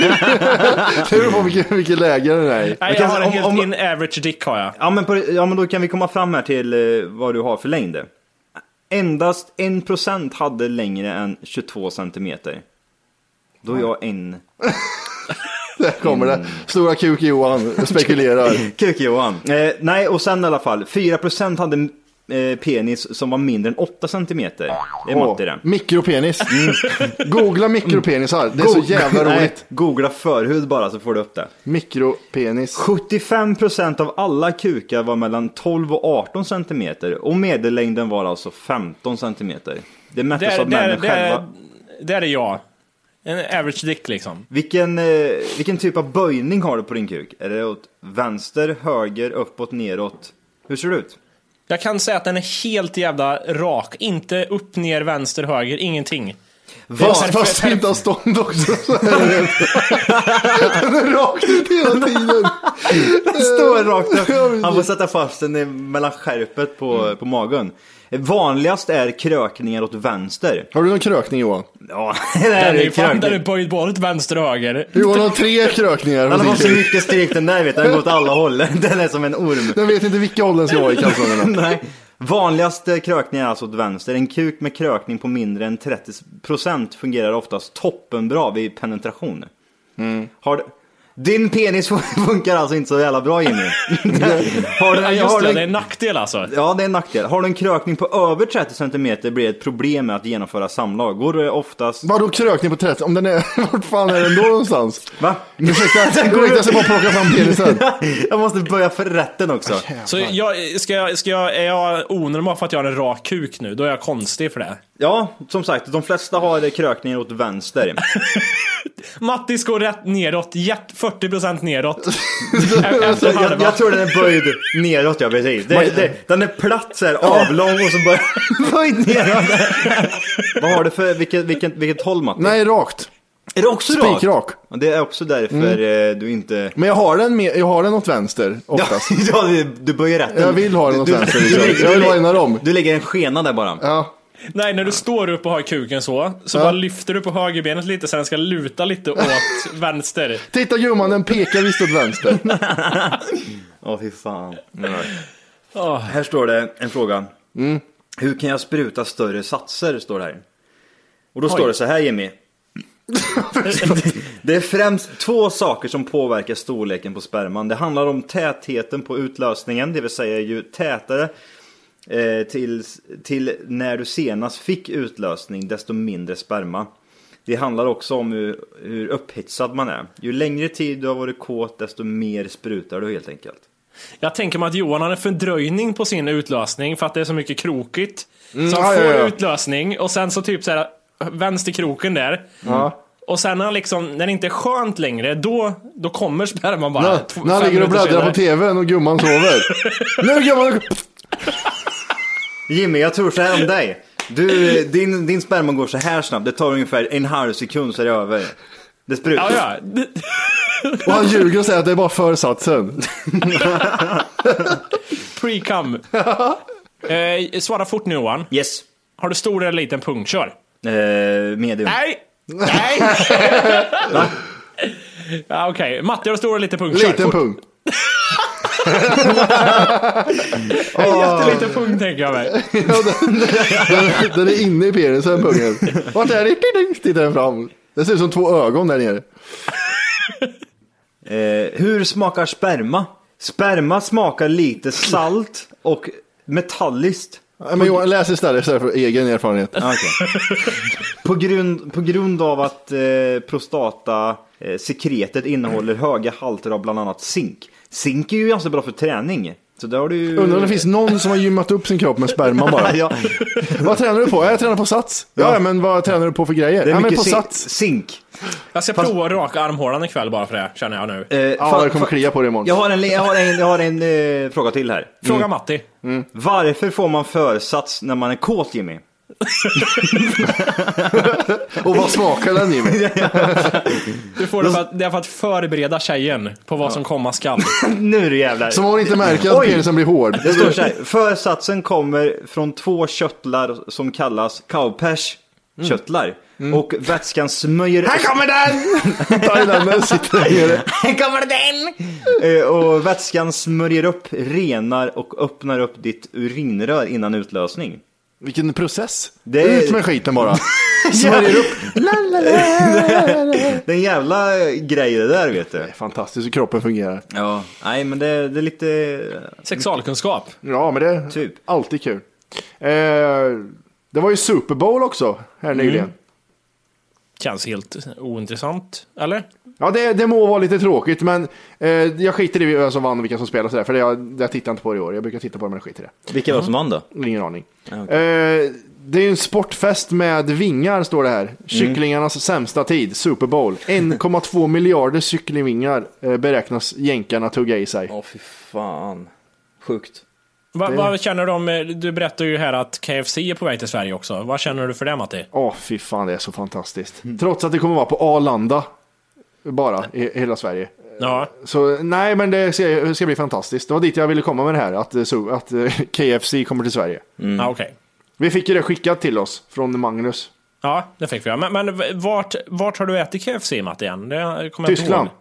Det beror på vilket, vilket läge den är i.
Nej, jag
kan-
har en
om-
helt
om-
in average dick har jag.
Ja men, på, ja, men då kan vi komma fram här till eh, vad du har för längd. Endast 1% hade längre än 22 centimeter. Då är jag en
Där kommer
Mm.
det. Stora kuk Johan spekulerar.
kuk Johan. Eh, nej, och sen i alla fall. 4% hade eh, penis som var mindre än 8 centimeter. Det är matte det.
Åh, Mikropenis. Googla mikropenisar. Det är så jävla
Nej,
roligt.
Googla förhud bara så får du upp det.
Mikropenis.
75% av alla kukar var mellan 12 och 18 centimeter och medellängden var alltså 15 centimeter. Det mättes
Där,
av
där,
männen själva.
där, där är jag. En average dick liksom.
Vilken, eh, vilken typ av böjning har du på din kuk? Är det åt vänster, höger, uppåt, neråt? Hur ser det ut?
Jag kan säga att den är helt jävla rak. Inte upp, ner, vänster, höger, ingenting.
Fast, fast inte har stånd också. så är det- Den är rakt ut hela tiden.
Står rakt upp. Han får sätta fast den i- mellan skärpet på,
Mm.
på magen. Vanligast är krökningar åt vänster.
Har du någon krökning Johan?
Ja, det här
Den är
är
ju fan den är
krökning.
böjd både åt vänster och höger.
Johan har tre krökningar. på
Han har
sin
så
kuk.
mycket stryk den där vet du, den går åt alla håll. Den är som en orm.
Den vet inte vilka håll den ska vara i kalsongerna.
Nej. Vanligaste krökningar är alltså åt vänster. En kuk med krökning på mindre än 30% fungerar oftast toppenbra vid penetration.
Mm.
Har du... Din penis funkar alltså inte så jävla bra Jimmy. har du,
Ja,
har
just
du
det,
en-
det är en nackdel alltså.
Ja, det är en nackdel. Har du en krökning på över 30 cm blir det ett problem med att genomföra samlag. Går det oftast...
Vadå krökning på 30? Om den är, vart fan är den då någonstans?
Va?
Ursäkta, gå hit jag ska bara plocka fram penisen.
Jag måste börja för rätten också.
Ah,
Så jag, ska jag, ska jag, är jag onormal för att jag har en rak kuk nu, då är jag konstig för det.
Ja, som sagt, de flesta har krökningar åt vänster.
Mattis går rätt neråt, jätt- 40% neråt. E- Efter
Jag,
halva.
jag tror den är böjd neråt, ja precis. Det, det, den är platt så här, avlång och så bara böjd neråt. Vad har du för, vilket, vilket, vilket håll Matti?
Nej, rakt.
är det också rakt?
Spikrak. Mm.
Ja, Det är också därför eh, du inte...
Men jag har den, med, jag har den åt vänster
Ja,
oftast.
ja, du, du böjer rätt.
Jag vill ha den åt
Du-
vänster,
du-
liksom.
du lägger-
Jag vill
du
ha
lägger-
en av dem.
Du lägger en skena där bara.
Ja.
Nej, när du står upp och har kuken så, så bara lyfter du på högerbenet lite så den ska luta lite åt vänster.
Titta gumman, den pekar visst åt vänster.
Åh fy fan. Här står det en fråga. Hur kan jag spruta större satser? Står det här. Och då står det så här Jimmy. det är främst två saker som påverkar storleken på sperman. Det handlar om tätheten på utlösningen, det vill säga ju tätare eh, till, till när du senast fick utlösning, desto mindre sperma. Det handlar också om hur, hur upphetsad man är. Ju längre tid du har varit kåt, desto mer sprutar du helt enkelt.
Jag tänker mig att Johan har en fördröjning på sin utlösning för att det är så mycket krokigt. så
Mm. ja,
han får
ja, ja.
utlösning och sen så typ så här vänsterkroken där. Och sen när han liksom, när det inte är skönt längre, då, då kommer sperman bara.
När-
tw-
När han
fem
ligger och
minuter
bläddrar
senare.
på tvn och gumman sover. Nu gumman!
Jimmy, jag tror så här om dig. Du, din, din sperma går så här snabbt, det tar ungefär en halv sekund så är det över. Det sprutar.
Ja, ja.
Och han ljuger och säger att det är bara försatsen.
Pre-cum. eh, svara fort nu Johan.
Yes.
Har du stor eller liten pung? Kör.
Eh, medium.
Nej! Nej! ja, Okej, Matte har du stor eller liten pung? Kör.
Liten pung.
En jätteliten pung tänker jag mig.
Ja, den, den, den är inne i penisen, pungen. Vart är det? Ding, ding, Tittar den fram. Det ser ut som två ögon där nere.
Eh, hur smakar sperma? Sperma smakar lite salt och metalliskt.
Nej, Men Johan, läs istället, istället för egen erfarenhet.
Ah, okej. på, grund, på grund av att eh, prostata eh, sekretet innehåller höga halter av bland annat zink. Zink är ju ganska bra för träning. Så där har du ju...
Undrar om det finns någon som har gymmat upp sin kropp med sperma bara.
ja,
Vad tränar du på? Jag tränar på sats. Ja,
Ja.
men vad tränar du på för grejer?
det
Ja,
är
men
mycket
på
zink.
sats.
zink.
Jag ska prova att raka armhålan ikväll bara för det, känner jag nu.
Eh,
Ja,
fan-
det kommer
fan-
klia på dig imorgon.
Jag har en, jag har en, jag har en eh, fråga till här.
Fråga Matti.
Varför får man försats när man är kåt Jimmy?
Och vad smakar den Jimmy?
Du får det för att, det är för att förbereda tjejen på vad som komma skall.
nu är det jävlar.
Som hon inte märker att
Oj.
penisen blir hård.
Det står så här. Försatsen kommer från två köttlar som kallas cowpash köttlar.
Mm.
Och vätskan smörjer... Här kommer den!
Thailändaren sitter där nere.
Här kommer den! eh, och vätskan smörjer upp, renar och öppnar upp ditt urinrör innan utlösning.
Vilken process.
Det är-
Ut med skiten bara. Smörjer upp. La, la, la, la.
Det är en jävla eh, grej det där vet du.
Fantastiskt hur kroppen fungerar.
Ja, nej men det, det är lite... eh,
Sexualkunskap.
Ja, men det är
Typ.
alltid kul. Eh, det var ju Super Bowl också här
Mm.
nyligen.
Känns helt ointressant. Eller?
Ja, det, det må vara lite tråkigt, men eh, jag skiter i vem som vann och vilka som spelade sådär, för det, jag, jag tittar inte på det i år. Jag brukar titta på det, men jag skiter i det.
Vilka var det som vann då?
Ingen aning.
Ja,
Eh, det är ju en sportfest med vingar, står det
Mm.
här. Kycklingarnas sämsta tid, Super Bowl. 1,2 miljarder kycklingvingar eh, beräknas jänkarna tugga i sig.
Åh fy fan. Sjukt.
Va, Vad känner du om, eh, du berättar ju här att KFC är på väg till Sverige också. Vad känner du för det Matti?
Åh, fy fan, det är så fantastiskt.
Mm.
Trots att det kommer vara på Arlanda, bara, i hela Sverige.
Ja.
Så nej, men det ska, ska bli fantastiskt. Det var dit jag ville komma med det här, att, eh, så, att eh, KFC kommer till Sverige.
Mm.
ja Okej.
Vi fick ju det skickat till oss från Magnus.
Ja, det fick vi. göra. Men, men v- vart, vart har du ätit KFC Matti igen? Det kommer jag inte
Tyskland.
ihåg.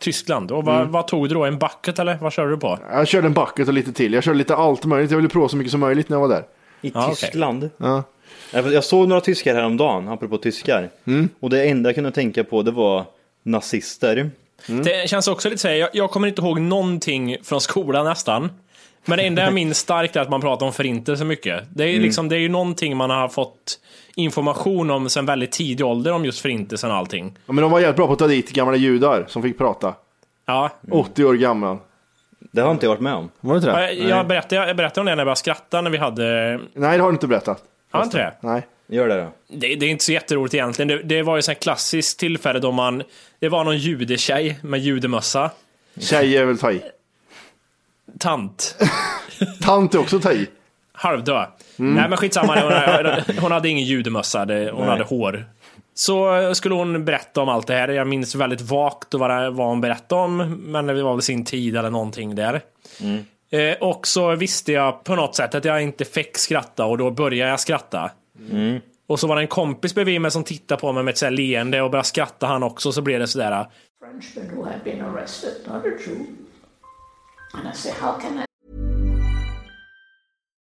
Tyskland. Och vad,
Mm.
vad tog du då? En bucket eller? Vad körde du på?
Jag körde en bucket och lite till. Jag körde lite allt möjligt. Jag ville prova så mycket som möjligt när jag var där.
I
Ja, okej.
Tyskland? Ja, för Jag såg några tyskar häromdagen, apropå tyskar.
Mm.
Och det enda jag kunde tänka på det var nazister.
Det känns också lite så här, jag, jag kommer inte ihåg någonting från skolan nästan. Men det enda jag minns starkt är att man pratar om förintelse mycket. Det är, liksom, det är ju någonting man har fått information om sen väldigt tidig ålder om just förintelsen och allting.
Ja, men de var jävligt bra på att ta dit gamla judar som fick prata.
Mm. Ja,
80 år gamla.
Det har inte jag varit med om.
Var det inte
jag, jag, berättade, jag berättade om det när jag började skratta när vi hade...
Nej, det har du inte berättat.
Har jag inte det?
Nej.
Gör det då.
Det, det är inte så jätteroligt egentligen. Det, det var ju ett klassiskt tillfälle då man... Det var någon judetjej med judemössa.
Tjej är väl ta i.
Tant.
Tant är också ta i.
Halvdö. Nej men skitsamma, hon, hon hade ingen judemössa, det- hon hade hår. Så skulle hon berätta om allt det här. Jag minns väldigt vagt vad det- vad hon berättade om, men det var väl sin tid eller någonting där. Eh, och så visste jag på något sätt att jag inte fick skratta och då började jag skratta. Och så var det en kompis bredvid mig som tittade på mig med ett så här leende och började skratta han också, så blev det sådär.
Frenchman who had been arrested, not a Jew. And I say, how can I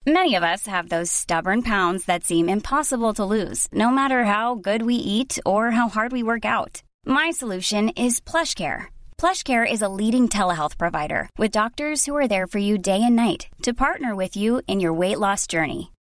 Many of us have those stubborn pounds that seem impossible to lose, no matter how good we eat or how hard we work out. My solution is PlushCare. PlushCare is a leading telehealth provider with doctors who are there for you day and night to partner with you in your weight loss journey.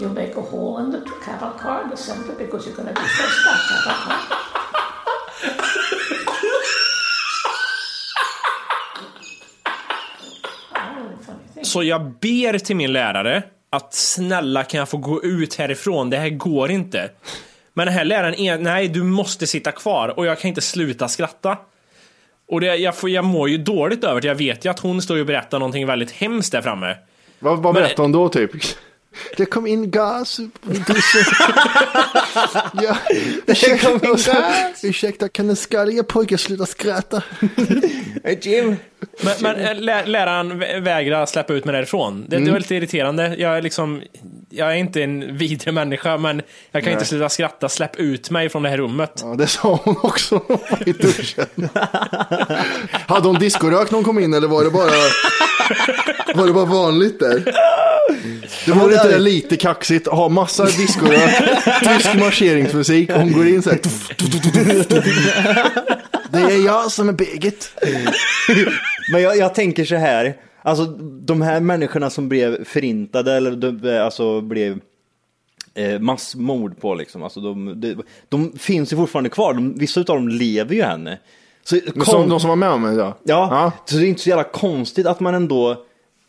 You make a hole in the t- cattle car in the center because you're going to be first up cattle car. Oh, funny thing.
Så jag ber till min lärare att snälla kan jag få gå ut härifrån? Det här går inte. Men den här läraren är, nej du måste sitta kvar och jag kan inte sluta skratta. Och det, jag, får, jag mår ju dåligt över det. Jag vet ju att hon står och berättar någonting väldigt hemskt där framme.
Vad, vad berättade hon då typ? Det kom in gas i duschen. ja, ursäkta,
kom in
och så-
gas.
ursäkta, kan en skalliga pojke sluta skratta?
Jim!
Men, men eh, lä- läraren vä- vägrar släppa ut mig därifrån. Det, det
Mm.
var lite irriterande. Jag är liksom, jag är inte en vidrig människa men jag kan inte sluta skratta. Släpp ut mig från det här rummet.
Ja, det sa hon också när hon var i duschen. Hade hon discorök när hon kom in eller var det bara... Var det bara vanligt där? Det vore inte det lite kaxigt att ha massa diskorör, tysk marscheringsmusik och hon går in så här. tuff, tuff, tuff, tuff, tuff. Det är jag som är Birgit.
Men jag, jag tänker så här, alltså de här människorna som blev förintade eller de, alltså blev eh, massmord på liksom, alltså de, de, de finns ju fortfarande kvar, de, vissa av dem lever ju än. Så,
Som
kon-
de som var med om det ja.
Ja, så det är inte så jävla konstigt att man ändå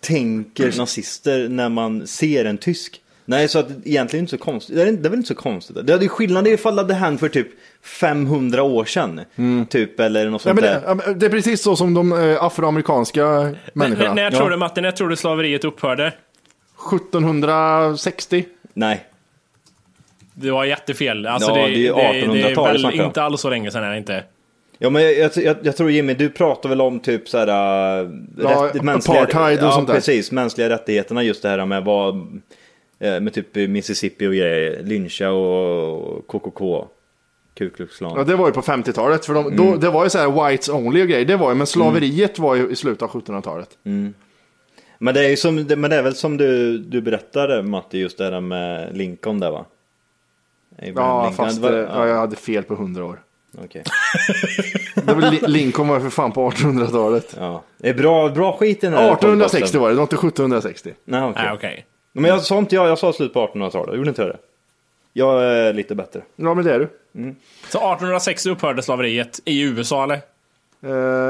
Mm.
tänker nazister när man ser en tysk. Nej, så att det egentligen är inte så konstigt. Det är, det är väl inte så konstigt. Det hade ju skillnad ifall det hade hänt för typ 500 år sedan. Typ, eller något
Mm. Ja,
sånt
men
där.
det, ja, men det är precis så som de eh, afroamerikanska människorna.
När, när tror du Matte, när tror du slaveriet upphörde?
1760.
Nej.
Du har jättefel. Alltså
Ja,
det,
det är ju
det är
1800-talet
väl
snackar jag om.
inte alls så länge sedan är det inte.
Ja, men jag, jag, jag, jag tror Jimmy, du pratar väl om typ så här... äh,
Ja, apartheid och
ja,
sånt där.
precis. Mänskliga rättigheterna, just det här med vad... eh, Med typ Mississippi och grejer, lyncha och KKK. Ku Klux Klan.
Ja, det var ju på 50-talet. För de, då,
Mm.
det var ju så här whites only och grejer. Det var ju, men slaveriet var ju i slutet av 1700-talet.
Mm. Men det är ju som, det- men det är väl som du, du berättade Matti, just det där med Lincoln där va? Abraham
Ja,
Lincoln,
fast
det var-
eh, ja, jag hade fel på 100 år.
Okej.
Det var Li- Lincoln var ju för fan på 1800-talet.
Ja. Det är bra, bra skit i den här
1860
podcasten.
var det, det var inte 1760.
Nej okej. Men jag sa inte jag, jag sa slut på 1800-talet, gjorde inte jag det? Jag är lite bättre.
Ja, men det är du.
Så 1860 upphörde slaveriet i USA eller?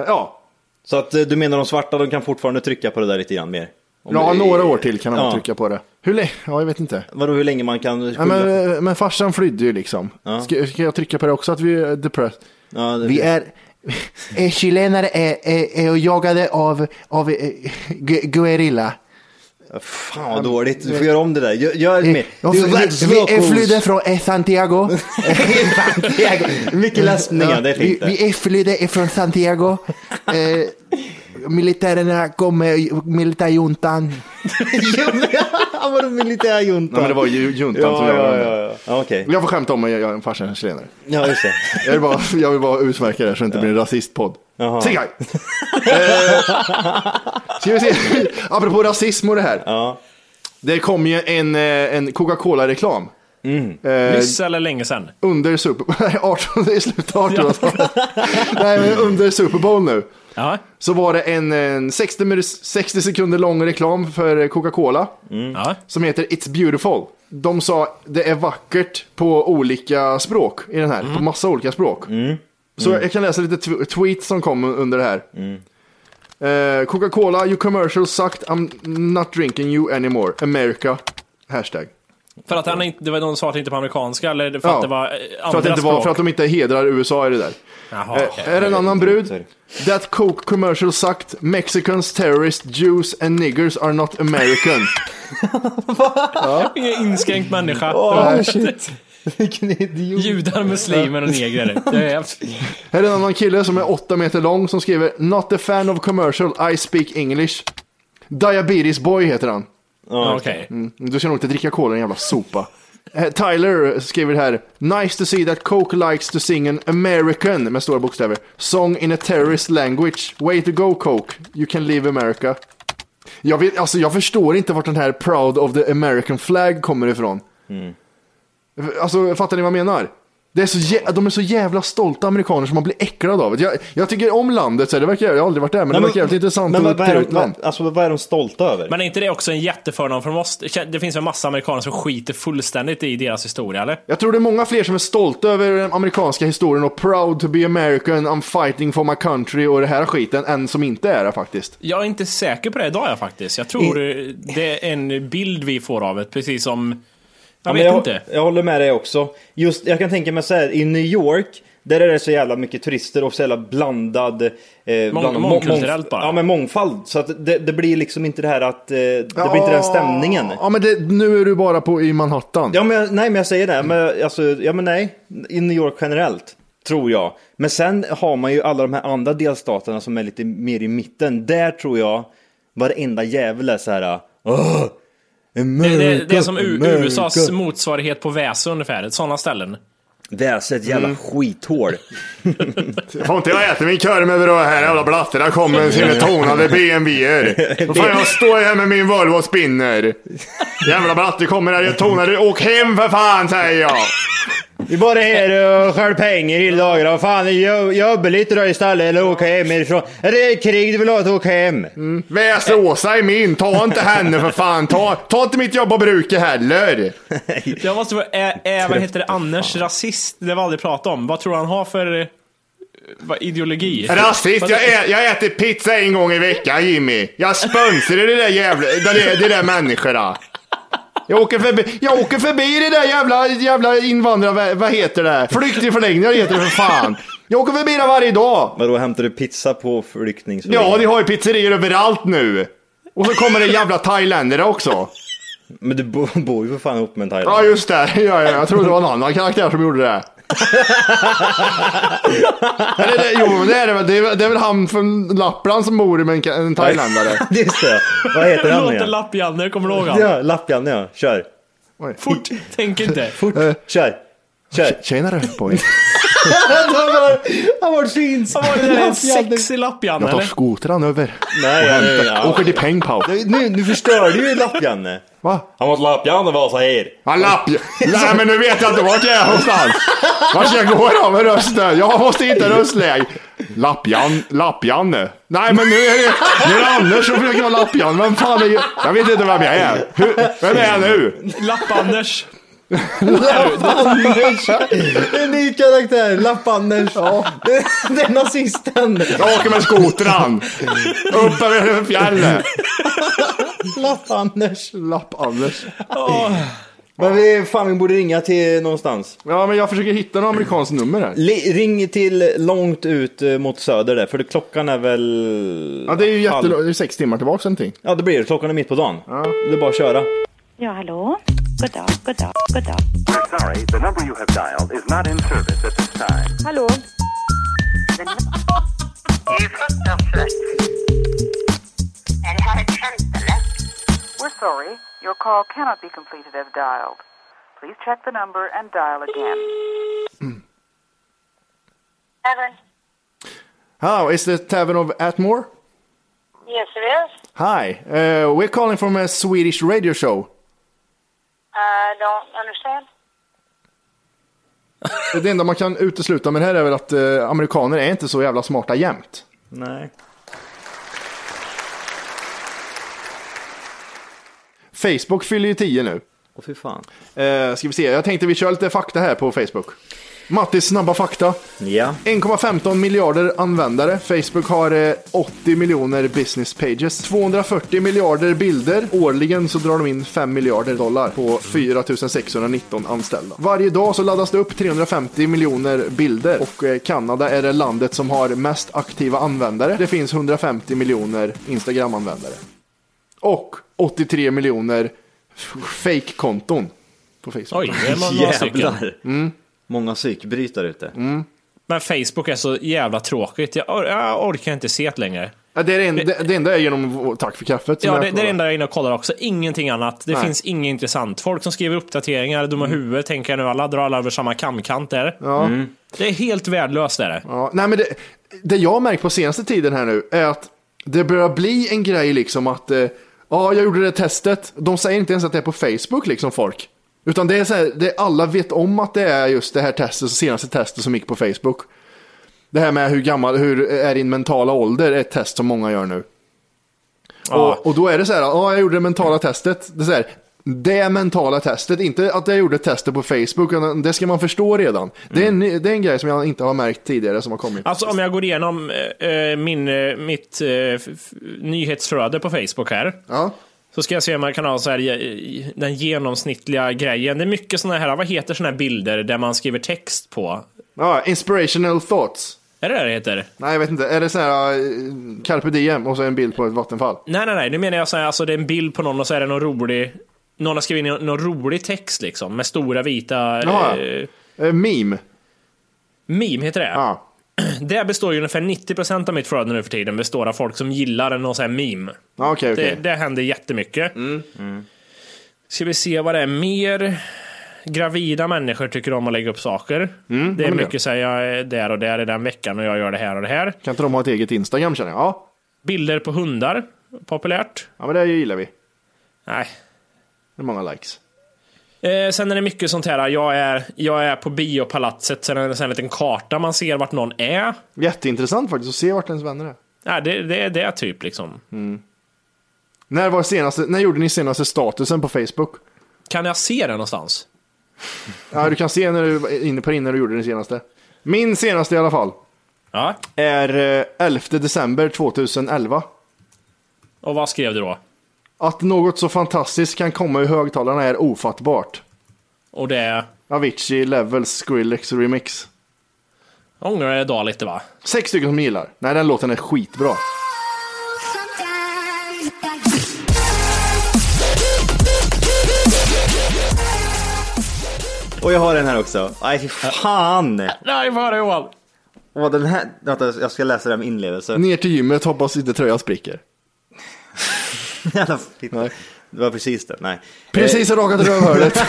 ja.
Så att eh, du menar de svarta, de kan fortfarande trycka på det där lite grann mer? Om
Ja,
det-
några år till kan de
Ja.
trycka på det. Hur länge? Ja, jag vet inte.
Vadå hur länge man kan
Ja,
skylla?
men, eh, men farsan flydde ju liksom.
Ja.
Ska, ska jag trycka på det också att vi är depressed?
Ja, det-
Vi är... eh, Chilenare är, är, är jagade av, av eh, gu- guerilla.
Fan vad dåligt, du får göra om det där. Gör, gör
Eh,
mer.
de
Du-
fly- Vi är flydde från eh, Santiago.
Santiago. Mycket läsningar, det är
vi,
fint det.
vi är flydde från Santiago. Eh, militärerna kommer, militärjuntan.
Han var en militär junta.
Nej, men det var ju juntan
ja,
som
ja,
gjorde
ja,
det.
ja. ja, okej.
Jag får skämta om att jag jag är en farsa är chilenare.
Ja, just det.
Jag vill bara, jag vill bara utmärka det här så det inte blir en rasistpodd.
Jaha.
Sigai! Eh, Ska vi se, apropå rasism och det här. Det kom ju en, eh, en Coca-Cola-reklam. Eh,
Nyss eller länge sedan?
under Super Bowl, nej 18, det är slutet av 1800-talet. Nej men under Super Bowl nu. Så var det en, en 60, minus- 60 sekunder lång reklam för Coca-Cola. Som heter It's beautiful. De sa det är vackert på olika språk i den här, på
Mm.
massa olika språk. Så jag kan läsa lite tw- tweets som kom under det här.
Mm.
Eh, Coca-Cola, you commercial sucked, I'm not drinking you anymore. America, hashtag.
För att han inte, det var någon svarade inte på amerikanska eller för
Ja,
att det var eh, andra
För att, det inte var,
språk?
för att de inte hedrar USA i det där.
Jaha,
Eh,
okej.
Är det en annan brud? That coke commercial sucked. Mexicans, terrorists, Jews and niggers are not American.
Ingen inskränkt människa.
Åh,
shit. Vilken idiot.
Judar, muslimer och negrer. Det är...
Här är en annan kille som är åtta meter lång som skriver Not a fan of commercial, I speak English. Diabetes boy heter han.
Ja, Okej.
Mm, du ska nog inte dricka cola, din jävla sopa. Eh, Tyler skriver här. Nice to see that Coke likes to sing an American, med stora bokstäver, song in a terrorist language. Way to go Coke, you can leave America. Jag, vet, alltså, jag förstår inte vart den här proud of the American flag kommer ifrån.
Mm.
Alltså, fattar ni vad jag menar? Det är så jä- de är så jävla stolta amerikaner som man blir äcklad av. det. Jag, jag tycker om landet, så här, det verkar, jag har aldrig varit där, men det verkar jävligt intressant
men,
och
vad, vad, är de,
trevligt land.
vad, alltså, vad är de stolta över?
Men är inte det också en jätteförmån för oss? Det finns en massa amerikaner som skiter fullständigt i deras historia, eller?
Jag tror det är många fler som är stolta över den amerikanska historien och proud to be American, I'm fighting for my country och det här skiten, än som inte är det faktiskt.
Jag är inte säker på det idag jag faktiskt. Jag tror eh, det är en bild vi får av det, precis som... Jag
Ja, men
vet
jag,
inte.
Jag håller med dig också. Just, jag kan tänka mig så här, i New York, där är det så jävla mycket turister och så jävla blandad... Eh, bland- mång-
mångkulturellt bara.
Ja, men mångfald. Så att det, det blir liksom inte det här att... Eh, det blir inte den stämningen.
Ja, men det, nu är du bara på i Manhattan.
Ja, men, jag- nej, men jag säger
Mm.
det. Men, alltså, ja, men nej. I New York generellt, tror jag. Men sen har man ju alla de här andra delstaterna som är lite mer i mitten. Där tror jag varenda jävel är så här... Åh!
Det,
America,
det, det är som U-
America."
USAs motsvarighet på Väsö ungefär, sådana ställen.
Väsa alltså ett jävla
Mm.
skithål.
Får inte jag äta min korv med bröd här jävla blatte? Där kommer sina tonade BMWer. Då får jag stå här med min Volvo och spinner. Jävla blatte kommer här, jag tonade. Åk hem för fan säger jag.
Vi är bara här och stjäl pengar i dagarna. Vad fan, jobb- jobba lite då istället eller åka hem ifrån. Är det krig du vill ha att åka hem?
Väsåsa är min, ta inte henne för fan. Ta, ta inte mitt jobb och bruke heller.
Jag måste vara, ä, ä, vad heter det, Anders rasist? Det har vi aldrig pratat om. Vad tror han har för eh, vad, ideologi?
Rasist,
Vad-
jag, ä, jag äter pizza en gång i veckan Jimmy. Jag sponsrar det där jävla, det där, det där människorna. Jag åker förbi, jag åker förbi det där jävla, jävla invandrar, vad heter det? Flyktingförläggningar heter det för fan. Jag åker förbi det varje dag.
Vadå, hämtar du pizza på flyktingförläggningen?
Ja, de har ju pizzerior överallt nu. Och så kommer det jävla thailändare också.
Men du bo- bor ju för fan ihop med en thailändare.
Ja, just det. Ja, ja, jag trodde det var en annan karaktär som gjorde det. Eller, det jo, men det är det väl. Det är, väl- det är väl han från Lappland som bor med en, ka- en thailändare.
Just det. Vad heter han
Låter
igen?
lapp-Janne, kommer du ihåg han?
Ja, lappjan ja. Kör.
Fort, tänk inte.
Fort, kör. Kör.
Tjenare pojk.
Han var fin. Han var det där en sexig lapp-Janne
Jag tar
eller?
skotran över.
Nej,
och
nej, nej,
hämtar-
ja.
Åker till Pengpau.
Nu, nu förstör du ju lappjanne.
Va?
Han måste lappjanne vara så här.
Han lapp... Nej men nu vet jag inte vart jag är någonstans. Vart ska jag gå då med rösten? Jag måste hitta röstläge. Lappjan... Lappjanne. Nej men nu är det, nu är det Anders som försöker vara lappjan. Vem fan är jag? Jag vet inte vem jag är. Hur, vem är jag nu?
Lapp-Anders.
Lapp-Anders! En ny karaktär, Lapp-Anders. Ja. Det är nazisten.
Jag åker med skotran. Upp över fjället.
Lapp-Anders.
Lapp-Anders.
Men vi, fan, vi borde ringa till någonstans.
Ja, men jag försöker hitta något amerikanskt nummer här.
ring till långt ut eh, mot söder där, för det- klockan är väl...
Ja det är ju jätte...
halv-
Det är sex timmar tillbaka någonting.
Ja, det blir det. Klockan är mitt på dagen. Det är bara att köra.
Ja, hallå? God dag, god dag, god dag.
We're sorry, the number you have dialed is not in service at this time.
Hallå?
Det är fruktansvärt. Är det här ett skämt eller?
We're sorry, your call cannot be completed as dialed. Please check the number and dial again.
Evan,
How is the tavern of Atmore?
yes it is.
Hi, uh, we're calling from a Swedish radio show.
I don't understand.
Det enda man kan utesluta med det här är väl att eh, amerikaner är inte så jävla smarta jämt.
Nej.
Facebook fyller ju 10 nu.
Åh fy fan.
Eh, ska vi se, jag tänkte vi kör lite fakta här på Facebook. Mattis snabba fakta.
Ja.
1,15 miljarder användare. Facebook har eh, 80 miljoner business pages. 240 miljarder bilder. Årligen så drar de in 5 miljarder dollar på 4619 anställda. Varje dag så laddas det upp 350 miljoner bilder och eh, Kanada är det landet som har mest aktiva användare. Det finns 150 miljoner Instagram-användare. Och 83 miljoner f- fake-konton på Facebook.
Oj, det är några några stycken. Mm.
Många psykbrytare ute.
Men Facebook är så jävla tråkigt. Jag, or- jag orkar inte se det längre.
Ja, det, är det, en, det, det enda är genom vår- Tack för kaffet. som
Ja,
jag
det, det är
kollar.
det enda jag är inne och kollar också. Ingenting annat. Det
Nej.
finns inget intressant. Folk som skriver uppdateringar, dumma huvud, tänker jag nu. Alla drar alla över samma kamkant där.
Ja. Mm.
Det är helt värdelöst är det.
Ja, nej, men det, det jag har märkt på senaste tiden här nu är att det börjar bli en grej liksom att eh, ja, jag gjorde det testet. De säger inte ens att det är på Facebook liksom folk. Utan det är så här, det, alla vet om att det är just det här testet, senaste testet som gick på Facebook. Det här med hur gammal, hur är din mentala ålder är ett test som många gör nu.
Ja.
Och, och då är det så här, ja jag gjorde det mentala testet. Det, är så här, det mentala testet, inte att jag gjorde testet på Facebook, utan det ska man förstå redan. Det, är en, det är en grej som jag inte har märkt tidigare som har kommit.
Mm. Alltså om jag går igenom eh, eh, min, eh, mitt eh, f- f- nyhetsflöde på Facebook här. Så ska jag se om jag kan ha så här, eh, i- den genomsnittliga grejen. Det är mycket sådana här, vad heter sådana här bilder där man skriver text på?
Ja, inspirational thoughts.
Är det det det heter?
Nej, jag vet inte. Är det så här eh, carpe diem och så en bild på ett vattenfall?
Nej, nej, nej. Nu menar jag så här, alltså det är en bild på någon och så är det någon rolig... Någon har skrivit någon, någon rolig text liksom med stora vita...
Jaha.
eh,
Eh, meme.
Meme heter det. Det består ju ungefär 90% av mitt flöde nu för tiden består av folk som gillar någon sån här meme.
Ja, okej, okej. Mm.
det, det händer jättemycket. Ska vi se vad det är mer? gravida människor tycker om att lägga upp saker. det
ja,
är
Mm, men det.
mycket så här, jag är där och där i den veckan och jag gör det här och det här.
Kan inte de ha ett eget Instagram känner jag? Ja.
Bilder på hundar, populärt.
Ja men det gillar vi.
Nej.
Det är många likes.
Eh, sen är det mycket sånt här, jag är, jag är på biopalatset, sen är det en liten karta man ser vart någon är.
Jätteintressant faktiskt att se vart ens vänner är.
Nej, det, det är det typ liksom.
När, var senaste, när gjorde ni senaste statusen på Facebook?
Kan jag se den någonstans?
Ja, du kan se när du var inne på din när du gjorde den senaste. Min senaste i alla fall.
Ja.
Är eh, 11 december 2011.
Och vad skrev du då?
Att något så fantastiskt kan komma ur högtalarna är ofattbart.
Och det är?
Avicii Levels Skrillex Remix.
Jag ångrar jag idag lite va?
Sex stycken som gillar. Nej, den låten är skitbra.
Och jag har den här också. Nej, fy fan!
Nej, bara Johan!
Åh, den här... Vänta, jag ska läsa den med inlevelse.
Mm.
Ner till gymmet, hoppas inte tröjan spricker.
Jävla fitta. Det var precis det, nej.
Precis har rakat rövhålet.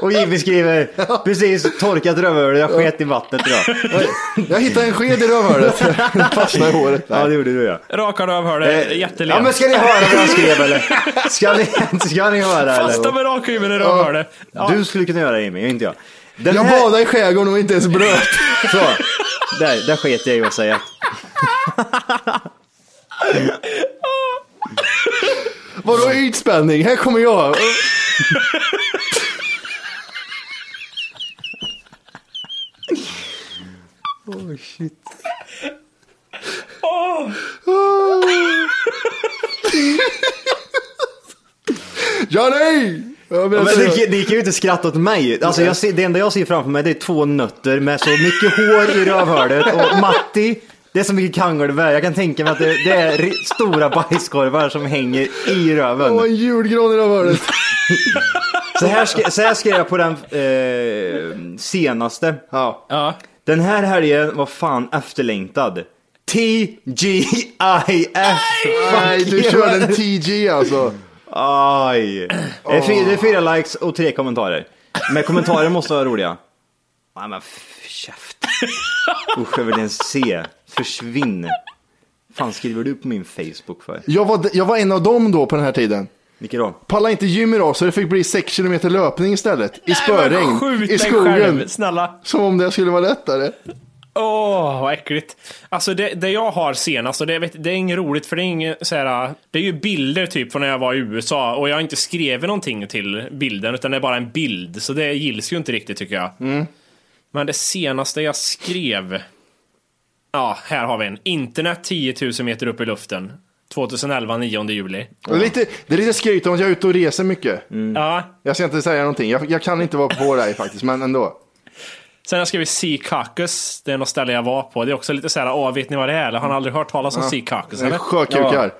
Och Jimmy skriver, precis torkat rövhålet, jag sket i vattnet idag.
Jag hittade en sked i rövhålet. Den fastnade i håret.
Ja, det gjorde du ja.
Raka rövhålet, eh, jättelen.
Ja men ska ni höra vad han skrev eller? Ska ni, ska ni höra
Fasta med rakhyveln i rövhålet.
eller? Du skulle kunna göra det Jimmy, inte jag. Den
Jag
här-
badade i skärgården och inte ens bröt.
Så, där, där sket jag i att säga.
Vadå ytspänning? Här kommer jag.
Oh shit.
Johnny! Ja, men
Men
alltså-
ni, ni kan ju inte skratta åt mig. Alltså, jag ser, det enda jag ser framför mig det är två nötter med så mycket hår i rövhålet och Matti, det är så mycket kangelvär. Jag kan tänka mig att det, det är ri- stora bajskorvar som hänger i röven.
Och en julgran i rövhålet.
Så här, ska, så här skrev jag på den eh, senaste.
Ja.
Den här helgen var fan efterlängtad. TGIF!
Nej, du körde en TG alltså.
Aj. Det är, fy- det är fyra likes och tre kommentarer. Men kommentarer måste vara roliga. Nej men f- käft. Usch, jag vill inte ens se. Försvinn. fan skriver du på min Facebook för?
Jag var, jag var en av dem då på den här tiden.
Vilka då?
Palla inte gym idag så det fick bli 6 km löpning istället. I spöregn.
skjut
I
dig
skogen.
själv, snälla.
Som om det skulle vara lättare.
Åh, vad äckligt. Alltså det, det jag har senast, och det, vet, det är inget roligt för det är inget så här, Det är ju bilder typ från när jag var i USA och jag har inte skrivit någonting till bilden utan det är bara en bild. Så det gills ju inte riktigt tycker jag. Men det senaste jag skrev. Ja, här har vi en. Internet 10 000 meter upp i luften. 2011, 9 juli.
Och lite, det är lite skryt om att jag är ute och reser mycket.
Ja.
Jag ska inte säga någonting. Jag, jag kan inte vara på dig faktiskt, men ändå.
Sen har jag skrivit Sea Caucus. Det är något ställe jag var på. Det är också lite så här, åh, vet ni vad det är? Eller har ni aldrig hört talas om
Ja.
Sea Caucus?
Det är
eller?
sjökukar.
Ja.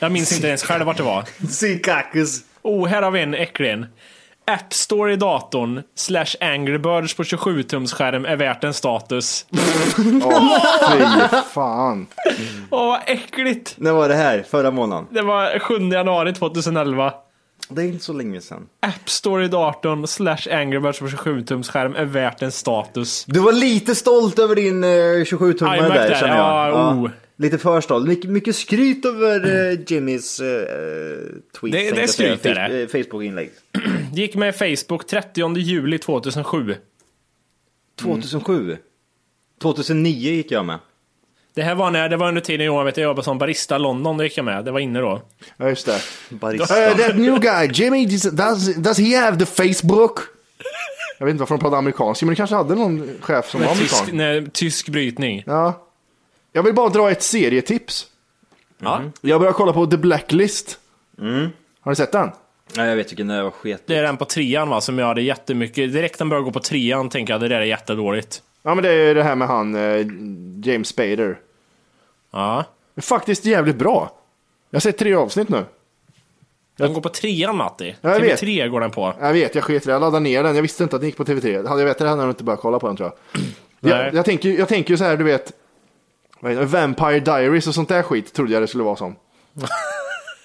Jag minns inte ens själv vart det var.
Sea Caucus.
Oh, här har vi en äcklig en. App Store i datorn slash Angry Birds på 27-tums skärm är värt en status.
Åh, fy fan.
Åh, vad äckligt!
När var det här? Förra månaden?
Det var 7 januari 2011.
Det är inte så länge sedan.
App Store i datorn slash Angry Birds på 27-tums skärm är värt en status.
Du var lite stolt över din eh, 27-tummare
iMac
där
där,
känner jag.
ja, oh.
Lite för stolt. My- mycket skryt över eh, Jimmys eh, tweet.
Det- det är skryt, är det.
Facebook-inlägg.
Gick med i Facebook 30 juli 2007.
2007? 2009 gick jag med.
Det här var när, det var under tiden jag vet, jag jobbade som barista i London, då gick jag med. Det var inne då.
Ja, just det.
Barista.
Eh, that new guy, Jimmy, does, does he have the Facebook? Jag vet inte varför de pratar amerikanska, men du kanske hade någon chef som var
Med tysk,
amerikan.
nej, tysk brytning.
Ja. Jag vill bara dra ett serietips.
Ja.
Jag börjar kolla på The Blacklist.
Mm.
Har ni sett den?
Ja, jag vet vilken det var sket.
Det är den på trean va, som jag hade jättemycket. Direkt när den började gå på trean tänker jag det där är jättedåligt.
Ja, men det är det här med han eh, James Spader.
Ja.
Faktiskt jävligt bra. Jag har sett tre avsnitt nu.
Den går på trean Matti.
Ja, jag vet.
TV3 går den på.
Jag vet, jag sket i det. Jag laddade ner den. Jag visste inte att den gick på TV3. Hade jag vetat det hade jag inte börjat kolla på den tror jag.
Nej.
jag, jag tänker ju jag tänker ju så här, du vet. vad heter det, Vampire Diaries och sånt där skit trodde jag det skulle vara som.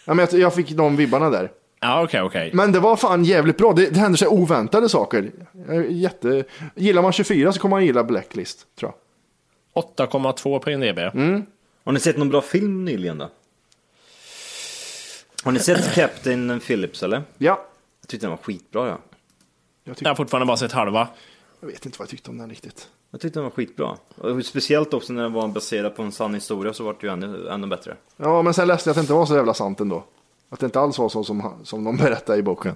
ja, men jag, jag fick de vibbarna där.
Ja, okej, okej.
Men det var fan jävligt bra. Det, det händer sig oväntade saker. Jag är Jätte... Gillar man 24 så kommer man gilla Blacklist, tror jag.
8,2 på IMDB.
Mm.
Har ni sett någon bra film nyligen då? Har ni sett Captain Phillips eller?
Ja.
Jag tyckte den var skitbra ja.
Jag,
har fortfarande bara sett halva.
Jag vet inte vad jag tyckte om den riktigt.
Jag tyckte den var skitbra. Och speciellt också när den var baserad på en sann historia så var det ju ännu, ännu bättre.
Ja, men sen läste jag att det inte var så jävla sant ändå. Att det inte alls var så som, han- som de berättade i boken.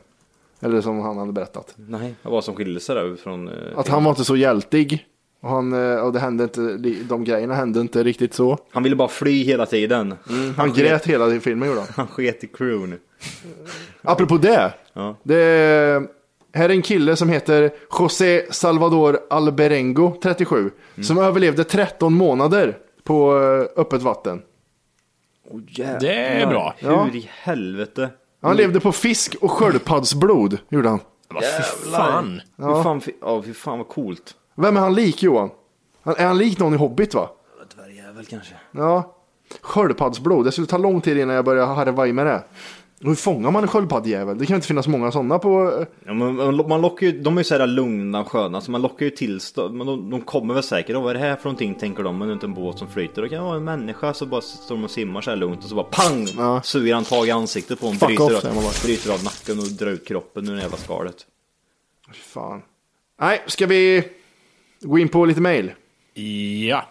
Eller som han hade berättat.
Nej, vad var det som skilde sig där från... eh,
Att han var inte så hjältig. Och, han, eh, och det hände inte, de grejerna hände inte riktigt så.
Han ville bara fly hela tiden.
Han grät hela filmen gjorde han.
Han sket i crewn.
Apropå det.
Ja.
det här är en kille som heter José Salvador Alberengo, 37. Som överlevde 13 månader på eh, öppet vatten.
Det
är bra.
Hur i helvete?
Han levde på fisk och sköldpaddsblod, gjorde han.
Vad fan? Hur fan, fi- ja, fy fan vad coolt.
Vem är han lik Johan? Han, är han lik någon i Hobbit va?
Dvärgjävel kanske.
Ja. Sköldpaddsblod, det skulle ta lång tid innan jag började harva i med det. Och Hur fångar man en sköldpaddjävel? Det kan ju inte finnas många sådana på... eh,
Ja, men man, man lockar ju, de är ju såhär lugna och sköna, så man lockar ju till st- men de, de kommer väl säkert, "Åh, vad är det här för någonting tänker de, men det är inte en båt som flyter. Det kan vara en människa, så bara står de och simmar såhär lugnt och så bara pang! Suger han tag i ansiktet på honom,
Fuck
bryter,
off, säger man
av,
bara.
bryter av nacken och drar ut kroppen ur det jävla skalet.
Fy Fan. Nej, ska vi gå in på lite mail?
Ja.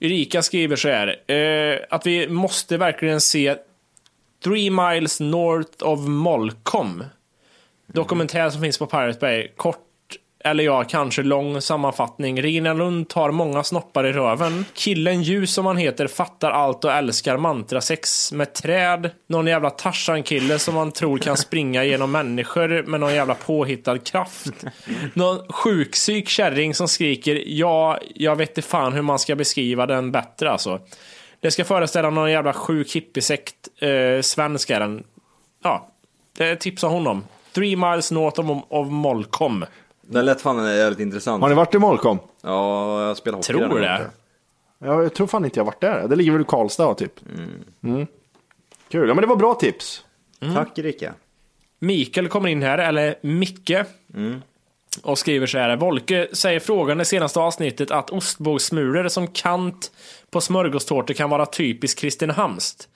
Erika skriver så här. Eh, att vi måste verkligen se Three Miles North of Molkom. Dokumentär som finns på Pirate Bay. Kort, eller ja, kanske lång sammanfattning. Regina Lund tar många snoppar i röven. Killen Ljus som han heter fattar allt och älskar mantrasex med träd. Någon jävla Tarzan-kille som man tror kan springa genom människor med någon jävla påhittad kraft. Någon sjuksyk kärring som skriker ja, jag vet inte fan hur man ska beskriva den bättre alltså. Det ska föreställa någon jävla sjuk hippiesekt. Eh, svensk är den. Ja, det tipsar hon om. Three miles north of, of Molkom.
Det lät fan jävligt intressant.
Har ni varit i Molkom?
Ja, jag spelar hockey.
Tror
där.
det.
Ja, Jag tror fan inte jag varit där. Det ligger väl i Karlstad typ. Mm. Kul, ja men det var bra tips.
Tack Erika.
Mikael kommer in här, eller Micke. Och skriver så här. Volke säger frågan i senaste avsnittet att ostbågssmulor som kant på smörgåstårtor kan vara typiskt Kristinehamnskt.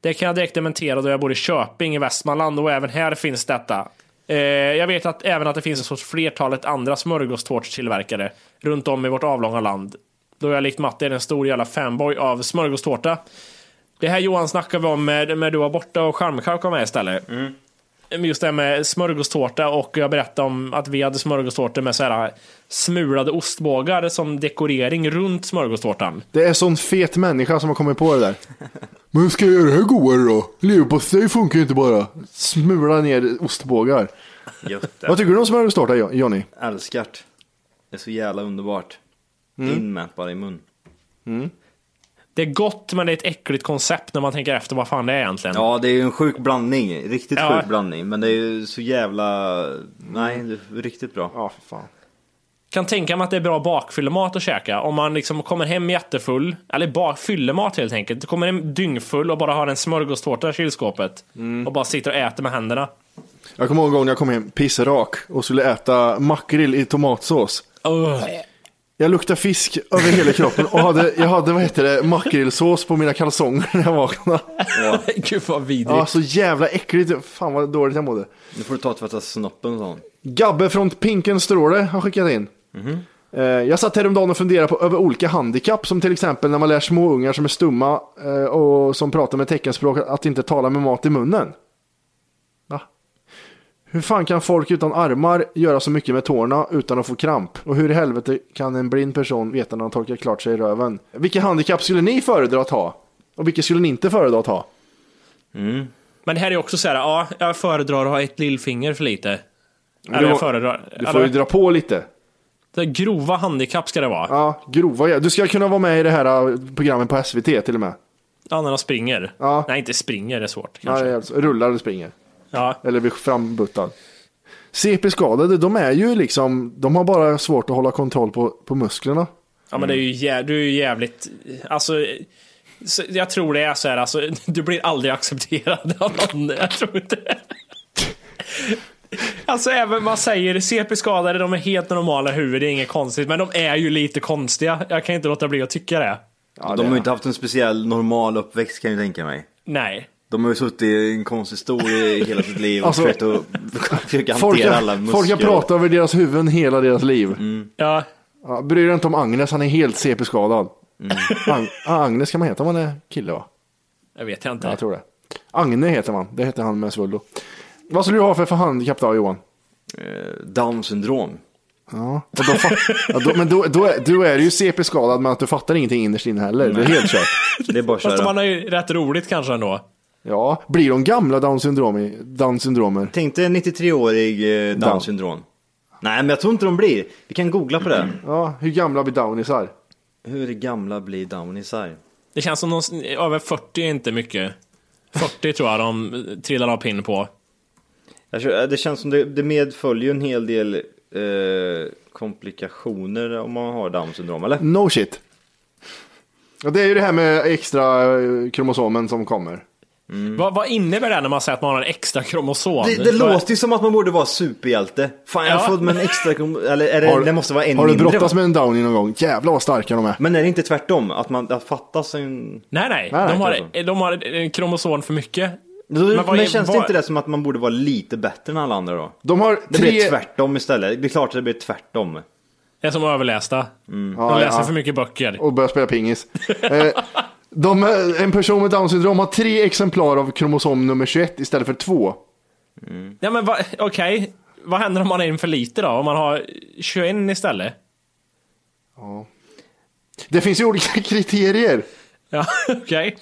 Det kan jag direkt dementera då jag bor i Köping i Västmanland och även här finns detta. Eh, jag vet att även att det finns hos flertalet andra smörgåstårtstillverkare runt om i vårt avlånga land. Då jag likt Matti är en stor jävla fanboy av smörgåstårta. Det här Johan snackade vi om med, med du var borta och Charmkark var med istället. Men Just det här med smörgåstårta och jag berättade om att vi hade smörgåstårtor med så här eh, smulade ostbågar som dekorering runt smörgåstårtan.
Det är sån fet människa som har kommit på det där. Men hur ska jag göra det här godare då? Leverpastej funkar ju inte bara. Smula ner ostbågar.
Gött det.
Vad tycker du om smörgåstårta Jo- Johnny?
Älskart. Det är så jävla underbart.
Mm.
In med bara i mun.
Det är gott men det är ett äckligt koncept när man tänker efter vad fan det är egentligen.
Ja, det är ju en sjuk blandning. Riktigt
Ja.
sjuk blandning. Men det är ju så jävla... Nej, det är riktigt bra.
Ja, för fan.
Kan tänka mig att det är bra bakfyllemat att käka. Om man liksom kommer hem jättefull, eller bak, fyllemat helt enkelt. Du kommer hem dyngfull och bara har en smörgåstårta i kylskåpet.
Mm.
Och bara sitter och äter med händerna.
Jag kommer ihåg en gång när jag kom hem pissrak och skulle äta makrill i tomatsås. Jag luktade fisk över hela kroppen och hade, jag hade vad heter det, makrillsås på mina kalsonger när jag vaknade.
Gud vad vidrigt.
Ja, så jävla äckligt. Fan vad dåligt jag mådde.
Nu får du ta och tvätta snoppen sa hon.
Gabbe från Pinken Stråle har skickat in. Eh, Jag satt häromdagen och funderade på över olika handikapp som till exempel när man lär små ungar som är stumma eh, och som pratar med teckenspråk att inte tala med mat i munnen. Va? Hur fan kan folk utan armar göra så mycket med tårna utan att få kramp? Och hur i helvete kan en blind person veta när han torkar klart sig i röven? Vilka handikapp skulle ni föredra att ha? Och vilka skulle ni inte föredra att ha?
Men det här är också så här, ja, jag föredrar att ha ett lillfinger för lite.
Men
Eller
du-
jag föredrar...
Du får ju dra på lite.
Det är grova handikapp ska det vara.
Ja, grova jä- Du ska kunna vara med i det här eh, programmet på SVT till och med.
Annorna springer. Nej, inte springer, det är svårt.
Nej,
Kanske.
alltså, rullar eller springer.
Ja.
Eller blir frambuttad. CP-skadade, de är ju liksom, de har bara svårt att hålla kontroll på, på musklerna.
Ja men det är ju jä- du är ju jävligt, alltså så- jag tror det är så här, alltså, du blir aldrig accepterad av någon. Jag tror inte det. Alltså även man säger CP-skadade, de är helt normala huvud, det är inget konstigt. Men de är ju lite konstiga. Jag kan inte låta bli att tycka det.
de har ju inte haft en speciell normal uppväxt kan jag ju tänka mig.
Nej.
De har ju suttit i en konstig stol i hela sitt liv och
Alltså,
försökt att försöka
Folk
hantera alla
har,
muskler. Mm.
folk har pratat över deras huvuden hela deras liv.
Ja.
Ja, bryr dig inte om Agnes, han är helt CP-skadad.
Mm.
Ag- Agnes kan man heta om man är kille va?
Jag vet jag inte.
Ja, jag tror det. Agne heter man, det heter han med svullo. Vad skulle du ha för, för handikapp då Johan?
Down syndrom.
Ja, och då fa- ja då, men då, då, är, då är du ju CP-skadad men att du fattar ingenting innerst inne heller. Det är helt kört.
Det är bara
Fast man har ju rätt roligt kanske ändå.
Ja, blir de gamla down, syndrom, down syndromer?
Tänk dig 93-årig eh,
Down.
down syndrom. Nej men jag tror inte de blir. Vi kan googla på det.
Ja, hur gamla blir downisar?
Hur gamla blir downisar?
Det känns som någon, över 40 är inte mycket. 40 tror jag de trillar av pinn på.
Jag tror- Det känns som det, det medföljer en hel del eh, komplikationer om man har down syndrom eller?
No shit. Ja, det är ju det här med extra eh, kromosomen som kommer.
Vad, vad innebär det när man säger att man har en extra kromosom?
Det, det låter ju som att man borde vara superhjälte. Fan jag har
Ja.
fått med en extra krom- eller är det,
Har-
Eh, det måste vara en
Har du
mindre,
brottats
va?
med en downie någon gång? Jävlar vad starka de är.
Men är det inte tvärtom? Att man att fattas en...
Nej, nej.
Nej, nej,
de, har,
tvärtom.
de har en kromosom för mycket.
Men,
vad är-
känns
vad-
det inte det som att man borde vara lite bättre än alla andra då?
De har
Det
tre...
blir tvärtom istället. Det är klart att det blir tvärtom.
Det är som överlästa.
Ja,
De läser
ja.
för mycket böcker.
och börjar spela pingis. Eh, de, eh, en person med down syndrom har tre exemplar av kromosom nummer 21 istället för två.
Ja, men va, okej. Vad händer om man är in för lite då? Om man har 21 istället?
Ja. Det finns ju olika kriterier.
Ja, okej.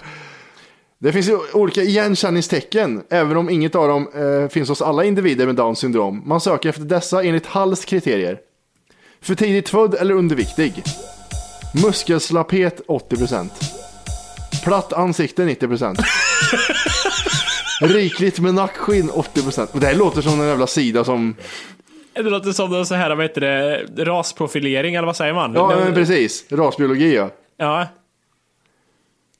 Det finns ju olika igenkänningstecken, även om inget av dem eh, finns hos alla individer med down syndrom. Man söker efter dessa enligt Halls kriterier. För tidigt född eller underviktig. Muskelslapphet 80%. Platt ansikte 90%. Rikligt med nackskinn 80%. Och det här låter som en jävla sida som...
Det låter som det är så här, vad heter det, rasprofilering eller vad säger man?
Ja,
Den-
eh,
men precis. Rasbiologi ja.
Ja.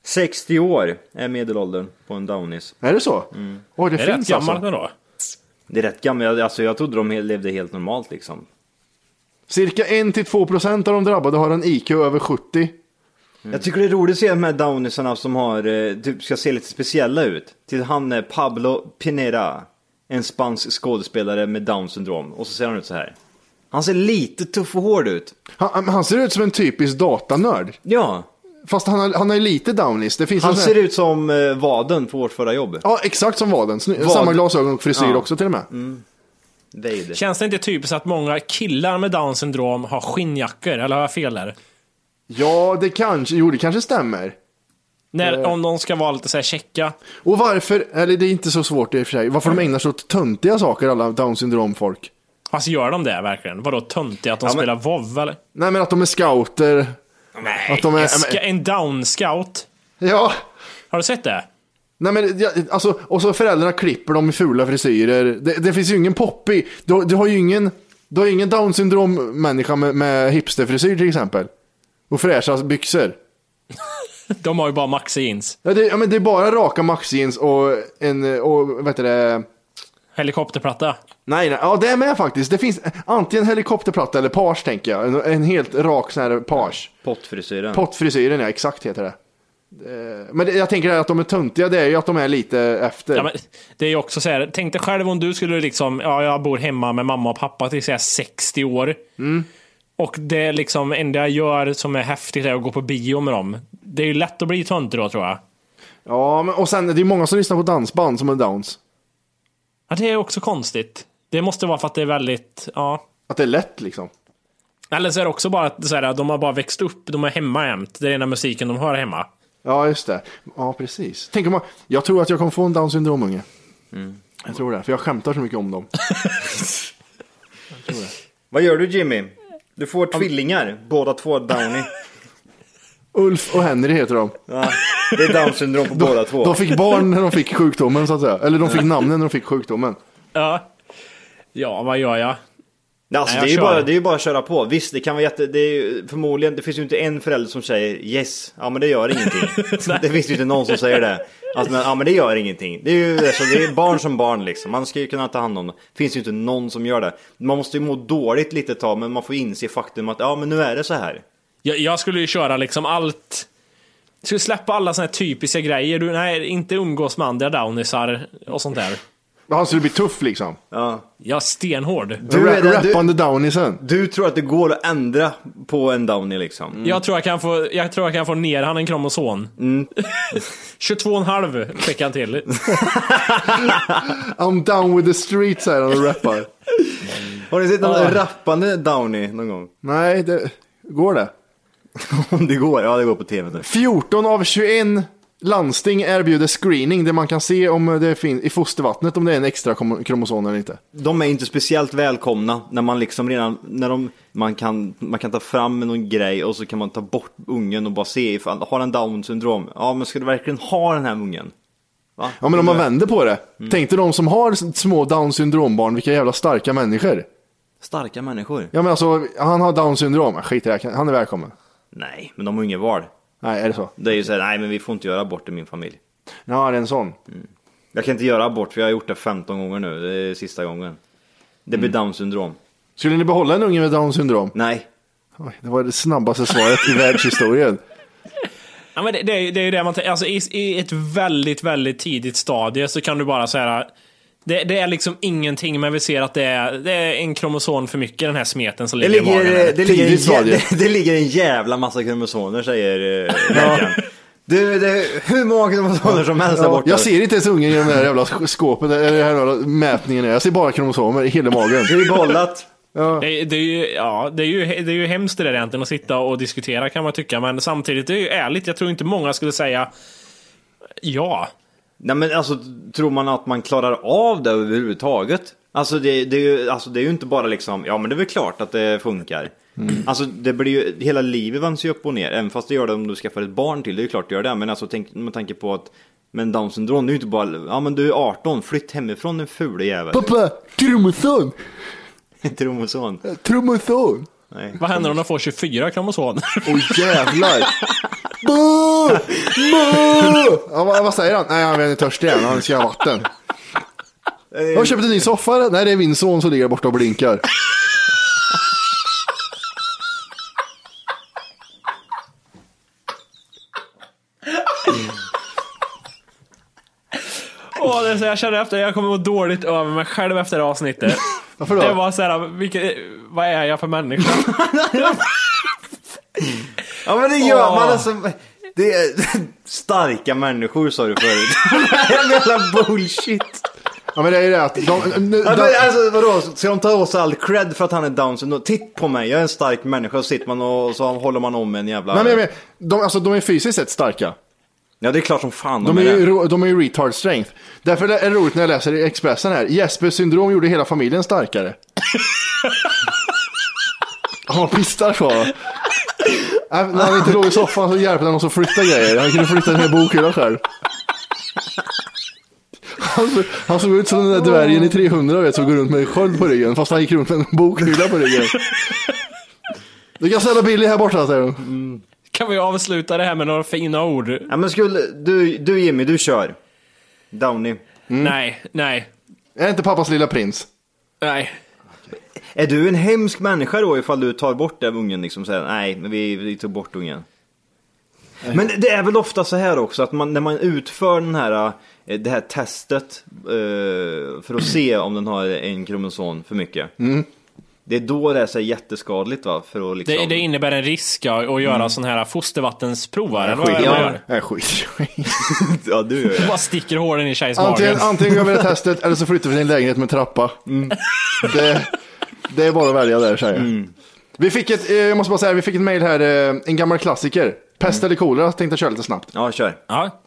60 år är medelåldern på en downis.
Är det så? Oj, det,
Mm. Det är rätt
finns
gammalt
alltså.
ändå.
Det är rätt gammalt. Alltså jag trodde de levde helt normalt liksom.
Cirka 1-2% av de drabbade har en IQ över 70.
Mm. Jag tycker det är roligt att se de här downisarna som har, eh, typ ska se lite speciella ut. Till han eh, Pablo Pineda, en spansk skådespelare med down syndrom. Och så ser han ut så här. Han ser lite tuff och hård ut.
Han, han ser ut som en typisk datanörd.
Ja.
Fast han har, han har ju lite downies. Det finns
Han
en sån
ser
här,
ut som eh, vaden på vårt förra jobb.
Ja, exakt som vaden. Sny-
Vad-
Samma glasögon och frisyr
Ja. Mm.
också till och med.
Vader.
Känns det inte typiskt att många killar med down syndrom har skinnjackor? Eller har jag fel där?
Ja, det kanske, jo det kanske stämmer.
När,
Eh.
Om de ska vara lite så här checka.
Och varför, eller det är inte så svårt i och för sig, varför de ägnar sig åt töntiga saker alla down syndrom folk.
Alltså gör de det verkligen? Vadå töntiga att de
Ja, men-
spelar WoW eller?
Nej men att de är scouter.
Nej,
att de är,
en, ska, en down scout.
Ja.
Har du sett det?
Nej men ja, alltså, och så föräldrarna klipper dem i fula frisyrer. Det, det finns ju ingen poppy. Du, du har ju ingen, du har ju ingen down syndrom människa med, med hipsterfrisyr till exempel. Och fräscha byxor.
De har ju bara maxi jeans.
Ja, det, ja, men det är bara raka maxjeans och en, och vad heter det?
Helikopterplatta.
Nej, nej, ja det är med faktiskt. Det finns antingen helikopterplatta eller page tänker jag. En, en helt rak sån här page.
Pottfrisyren.
Pottfrisyren ja, exakt heter det. Eh, Men det, jag tänker att de är töntiga, det är ju att de är lite efter.
Ja, men det är ju också så här, tänk dig själv om du skulle liksom, ja jag bor hemma med mamma och pappa till säga 60 år.
Mm.
Och det är liksom enda jag gör som är häftigt är att gå på bio med dem. Det är ju lätt att bli töntig då tror jag.
Ja, men, och sen det är ju många som lyssnar på dansband som är downs.
Ja, det är också konstigt. Det måste vara för att det är väldigt, ja.
Att det är lätt liksom.
Eller så är det också bara att så här, de har bara växt upp, de är hemma jämt. Det är den enda musiken de hör hemma.
Ja, just det. Ja, precis. Tänk om man, jag tror att jag kommer få en down syndromunge.
Mm.
Jag tror det, för jag skämtar så mycket om dem.
Vad gör du Jimmy? Du får tvillingar, båda två downy.
Ulf och Henry heter de.
Ja, det är down syndrom på båda två.
De fick barn när de fick sjukdomen så att säga. Eller de fick namnen när de fick sjukdomen.
Ja. Ja, vad gör jag?
Alltså,
Nej, jag
det, är ju
kör.
bara, det är ju bara att köra på. Visst, det kan vara jätte... Det är ju, förmodligen, det finns ju inte en förälder som säger yes, ja men det gör ingenting. det finns ju inte någon som säger det. Alltså, men, ja men det gör ingenting. Det är ju alltså, det är barn som barn liksom. Man ska ju kunna ta hand om det. finns ju inte någon som gör det. Man måste ju må dåligt lite ett tag, men man får inse faktum att ja men nu är det så här.
Jag, jag skulle ju köra liksom allt. Jag skulle släppa alla såna här typiska grejer. Du, nej, inte umgås med andra downisar och sånt där.
Han skulle bli tuff liksom.
Ja.
Jag är stenhård.
Du är Rappande downisen.
Du tror att det går att ändra på en downy liksom?
Jag, tror jag, kan få, jag tror jag kan få ner han en kromosom.
Mm.
22,5 fick han till.
I'm down with the street säger han och rappar.
Har ni sett någon
Ja.
rappande Downy någon gång?
Nej, det... går det?
Om det går, ja det går på tv nu.
14 av 21 landsting erbjuder screening där man kan se om det finns i fostervattnet om det är en extra kom- kromosom eller inte.
De är inte speciellt välkomna när man liksom redan, när de, man kan, man kan ta fram någon grej och så kan man ta bort ungen och bara se ifall, har den down syndrom? Ja men ska du verkligen ha den här ungen? Va?
Ja men om
Mm.
man vänder på det. Tänk dig de som har s- små down syndrombarn, vilka jävla starka människor.
Starka människor?
Ja men alltså, han har down syndrom, skit i det, här, kan- han är välkommen.
Nej, men de har ju inget val.
Nej, är det så?
Det är ju såhär, nej men vi får inte göra abort i min familj.
Ja, det är en sån.
Jag kan inte göra abort för jag har gjort det 15 gånger nu, det är sista gången. Det
Mm.
blir down syndrom.
Skulle ni behålla en unge med down syndrom?
Nej.
Oj, det var det snabbaste svaret i världshistorien.
Ja, men det, det, är ju- det är ju det man tänker. Alltså, i, I ett väldigt, väldigt tidigt stadie så kan du bara säga det, det är liksom ingenting, men vi ser att det är, det är en kromosom för mycket, den här smeten som
Det
ligger, i
ligger,
magen. här.
det, ligger en, jä- det, det ligger en jävla massa kromosomer säger eh, läkaren. Du, det är hur många kromosomer som helst Alltså, där
Ja,
borta.
jag ser inte ens ungen genom det här jävla sk- skåpet, eller den här jävla mätningen. Jag ser bara kromosomer i hela magen.
Det är bollat.
Det, det, är ju, ja, det, är ju, det är ju hemskt det där egentligen att sitta och diskutera kan man tycka, men samtidigt det är ju ärligt. Jag tror inte många skulle säga ja.
Nej men alltså tror man att man klarar av det överhuvudtaget? Alltså det, det, är, ju, alltså det är ju inte bara liksom, ja men det är väl klart att det funkar. Alltså det blir ju, hela livet vänds ju upp och ner, även fast det gör det om du skaffar ett barn till, det är ju klart det gör det. Men alltså tänk, med tanke på att, men down syndrom, det är ju inte bara, ja men du är 18, flytt hemifrån en ful jävel.
Pappa, kromosom!
Tromoson.
Kromosom!
Nej.
Vad händer om de får 24 kromosomer?
Åh jävlar! Bo! Bo! Ja, vad, vad säger han? Nej, han är törstig igen, han ska ha vatten. Jag har köpt en ny soffa. där. Nej, det är min son som ligger borta och blinkar.
Åh, det är så jag känner efter, jag kommer må dåligt över mig själv efter det här avsnittet.
Varför då?
Det var såhär, vilket, vad är jag för människa?
Ja men det gör
Åh.
man alltså. Det är starka människor sa du förut. Jävla bullshit.
Ja, men det är ju det att... De, nu-
Ja, men
de-
alltså vadå, ska de ta oss all cred för att han är down syndrom? Titt på mig, jag är en stark människa. Och sitter man och så håller man om en jävla...
Nej, men, jag menar, de, alltså, de är fysiskt sett starka.
Ja det är klart som fan
De är,
det.
ju, ro- de är ju retard strength. Därför är det roligt när jag läser i Expressen här. Jespers syndrom gjorde hela familjen starkare. Han pistar så. Äh, När han inte låg i soffan så hjälpte han oss att flytta grejer. Han kunde flytta den här bokhyllan själv. Han, så- han såg ut som den där dvärgen i 300 vet, som går runt med en sköld på ryggen. Fast han gick runt med en bokhylla på ryggen. Du kan ställa Billy här borta säger hon.
Kan vi avsluta det här med några fina ord?
Ja men skulle, du, du Jimmy, du kör. Downy.
Nej, nej,
Är inte pappas lilla prins?
nej.
Är du en hemsk människa då ifall du tar bort den ungen liksom? Säger, nej, men vi, vi tog bort ungen. Men det är väl ofta så här också att man, när man utför den här, eh, det här testet eh, för att se om den har en kromosom för mycket. Det är då det är så här jätteskadligt va? För att liksom...
Det, det innebär en risk ja, att göra
Mm.
sån här fostervattensprov. va? Eller vad är
skit,
det man
ja,
gör?
jag skit.
ja, du gör
Du
det.
bara sticker hålen i tjejs
Antingen,
mage.
antingen går vi det testet eller så flyttar vi till en lägenhet med trappa. Det, det är bara att välja där säger jag. Vi fick ett, eh, jag måste bara säga, vi fick ett mail här, eh, en gammal klassiker. Pest eller kolera tänkte jag köra lite snabbt.
Ja, kör.
Ja.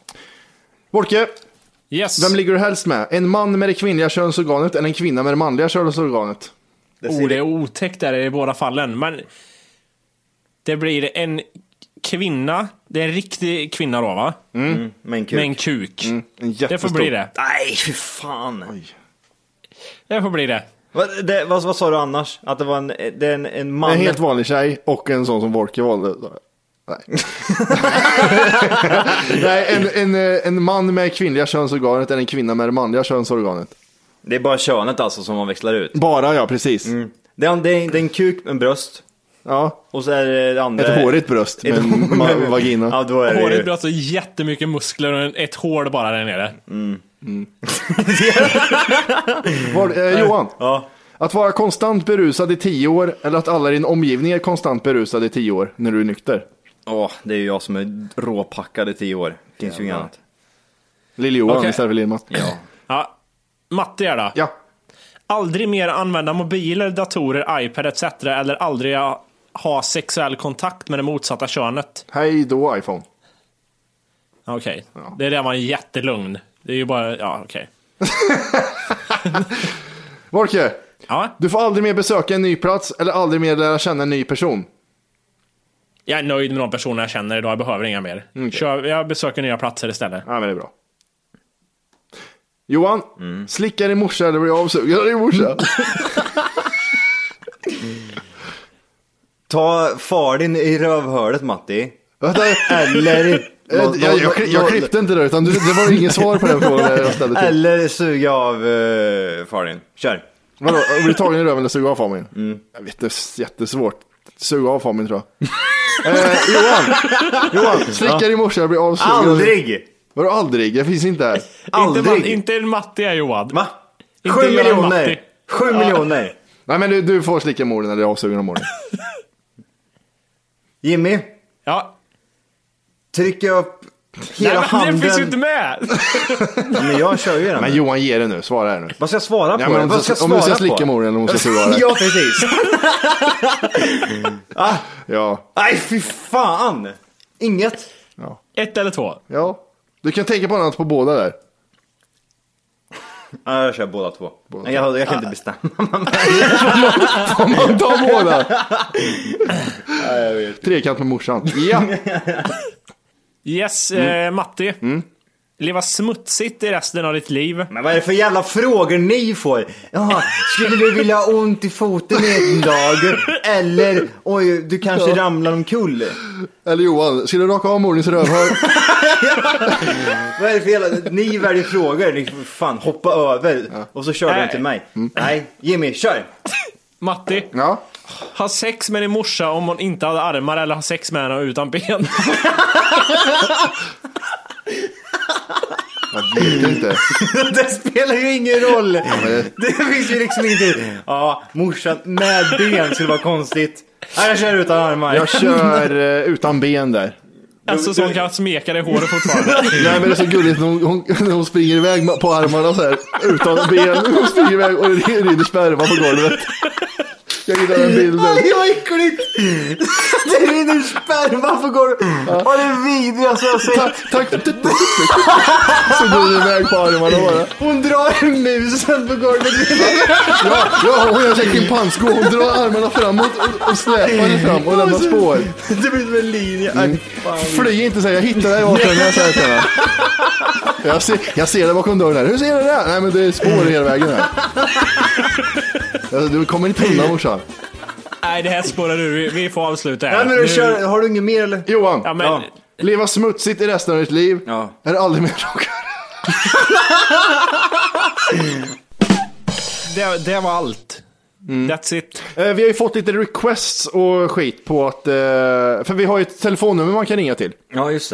Wolke,
yes.
vem ligger du helst med? En man med det kvinnliga könsorganet eller en kvinna med det manliga könsorganet?
Oh, det är otäckt där i båda fallen, men det blir en kvinna, det är en riktig kvinna då va?
Mm. Med en kuk.
Med en kuk.
en
det får bli det.
Nej, fy fan.
Det får bli det.
Vad, det, vad, vad sa du annars? Att det var en, det är en, en man?
En helt vanlig tjej och en sån som Wolke valde. Nej. Nej, en, en, eh, en man med kvinnliga könsorganet är en kvinna med det manliga könsorganet.
Det är bara könet alltså som man växlar ut?
Bara ja, precis.
Det, är, en- det, är, det är en kuk, en bröst.
Ja.
Och så är det det andra...
Ett hårigt bröst med en ma- vagina.
Ja, då är det
Håret
ju...
blir alltså jättemycket muskler och en- ett hål bara där nere.
Var, eh, Johan,
Ja.
att vara konstant berusad i tio år eller att alla i din omgivning är konstant berusade i tio år när du är nykter?
Åh, det är ju jag som är råpackad i tio år. Det finns ju inget
Jävlar.
annat.
Lill-Johan
Okej.
istället för Lill-Mats.
Ja.
Ja. Matte är det.
Ja.
Aldrig mer använda mobiler, datorer, iPad etc. Eller aldrig ha sexuell kontakt med det motsatta könet.
Hej då iPhone.
Okej, det är där man är jättelugn. Det är ju bara, ja okej.
Wolke,
ja?
du får aldrig mer besöka en ny plats eller aldrig mer lära känna en ny person.
Jag är nöjd med de personer jag känner idag, jag behöver inga mer.
Mm,
Kör, jag besöker nya platser istället.
Ja, men det är bra. Johan, slicka din morsa eller bli avsugen av din morsa.
Ta far din i rövhålet Matti.
Vänta.
Eller...
Jag, Eh, jag, jag, kli- jag klippte inte det, utan du, det var inget svar på den frågan jag ställde till.
Eller suga av uh, far din. Kör.
Vadå, att bli tagen i röven eller suga av Famin?
Mm.
Jag vet, det är jättesvårt. Suga av Famin tror jag. eh, Johan, Johan, slicka din morsa eller bli avsugen. av din-
Aldrig!
Vadå aldrig? Jag finns inte här.
Inte, man, inte en matte jag Johan.
Va?
Inte
Sju
Göran
miljoner.
Matti.
Sju
Ja.
miljoner.
Nej men du, du får slicka morden eller avsugen av morden.
Jimmy.
Ja.
Tryck upp
Nej,
hela
men
handen.
Det finns ju inte med!
Men jag kör ju den.
Men Johan, ge det nu. Svara här nu.
Vad ska jag svara på?
Ja, men om,
Vad ska
du,
jag
om du ska
svara
slicka
på?
morden eller om du ska suga av det.
Ja, precis.
Ja.
Nej, fy fan. Inget.
Ett eller två.
Ja, du kan tänka på något på båda där.
Ja, jag kör båda två. Nej, jag, jag kan inte bestämma.
Får man ta båda? Trekant med morsan. Ja,
Mm.
Yes, eh, Matti. Leva smutsigt i resten av ditt liv.
Men vad är det för jävla frågor ni får? Jaha, skulle du vilja ha ont i foten en dag? Eller, oj, du kanske ramlar omkull?
eller Johan, ska du raka av morens rövhål?
Vad är det för jävla... Ni väljer frågor, ni får fan hoppa över. Och så kör du
Nej.
inte mig.
Mm.
Nej, Jimmy, kör!
Matti,
Ja.
ha sex med din morsa om hon inte hade armar eller ha sex med henne utan ben.
Jag vet inte.
Det spelar ju ingen roll! Det finns ju liksom inte... Ja, morsan med ben skulle vara konstigt. Nej, jag kör utan armar.
Jag kör eh, utan ben där.
alltså så hon kan smeka dig i håret fortfarande.
Nej men det är så gulligt när hon, hon, när hon springer iväg ma- på armarna så här. Utan ben. Hon springer iväg och det rinner sperma på golvet. Jag gillar den bilden.
Aj, vad äckligt! Det rinner sperma på golvet. Ja, det är vidrigaste jag har sett.
Tack, tack. Så går hon iväg på armarna bara.
Hon drar musen på golvet.
Ja, ja hon gör sig till en pannsko. Hon drar armarna framåt och, och släpar det fram och lämnar spår.
Det blir som en linje.
Äh,
Aj, fan.
Fly inte säger jag hittar dig bakom den här sätena. Jag ser, jag ser det bakom dörren här. Hur ser du det? Nej men det är spår hela vägen här. Alltså, du kommer inte undan morsan.
Nej, det här spårar du. Vi, vi får avsluta här.
Nej, men
Nu-
du kör, har du inget mer eller?
Johan,
Ja, men,
Ja.
leva smutsigt i resten av ditt liv.
Ja.
Är det aldrig mer rockare?
det, det var allt. That's it.
Eh, Vi har ju fått lite requests och skit på att... eh, För vi har ju ett telefonnummer man kan ringa till.
Ja, just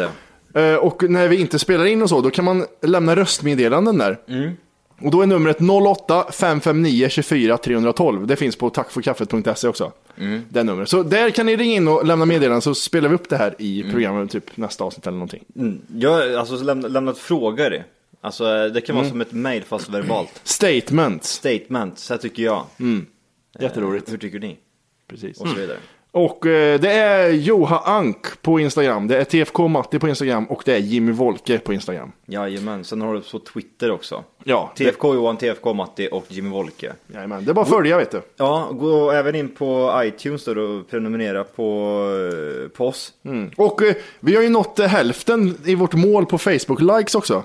det.
Eh, Och när vi inte spelar in och så, då kan man lämna röstmeddelanden där. Och då är numret 08 559 24 312. Det finns på tackforkaffet.se också. Det numret. Så där kan ni ringa in och lämna meddelanden så spelar vi upp det här i programmet typ nästa avsnitt eller någonting.
Jag alltså, lämnat, lämnat frågor. Alltså, det kan vara som ett mail fast verbalt.
Statements.
Statement, så här tycker jag.
Mm. Jätteroligt. Mm.
Eh, Hur tycker ni?
Precis.
Och så vidare.
Och eh, det är Joha Ank på Instagram, det är TFK Matti på Instagram och det är Jimmy Wolke på Instagram.
Jajamän, sen har du på Twitter också.
Ja,
TFK Johan, TFK Matti och Jimmy Wolke.
Jajamän, det är bara att följa vet du.
Ja, gå även in på iTunes då och prenumerera på, eh, på oss.
Och eh, vi har ju nått eh, hälften i vårt mål på Facebook-likes också.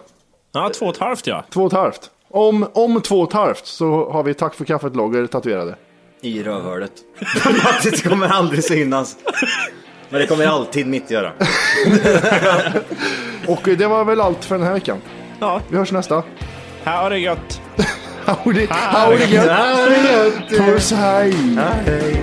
Ja, två och ett halvt ja.
Två och ett halvt. Om, om två och ett halvt så har vi Tack för kaffet-loggor tatuerade.
I rövhålet. Mattis kommer aldrig synas. Men det kommer alltid mitt göra.
Och eh, det var väl allt för den här veckan.
Ja.
Vi hörs nästa.
Ha det gött.
Ha det- ha det gött.
Ha det gött.
Puss, hej.
Hej.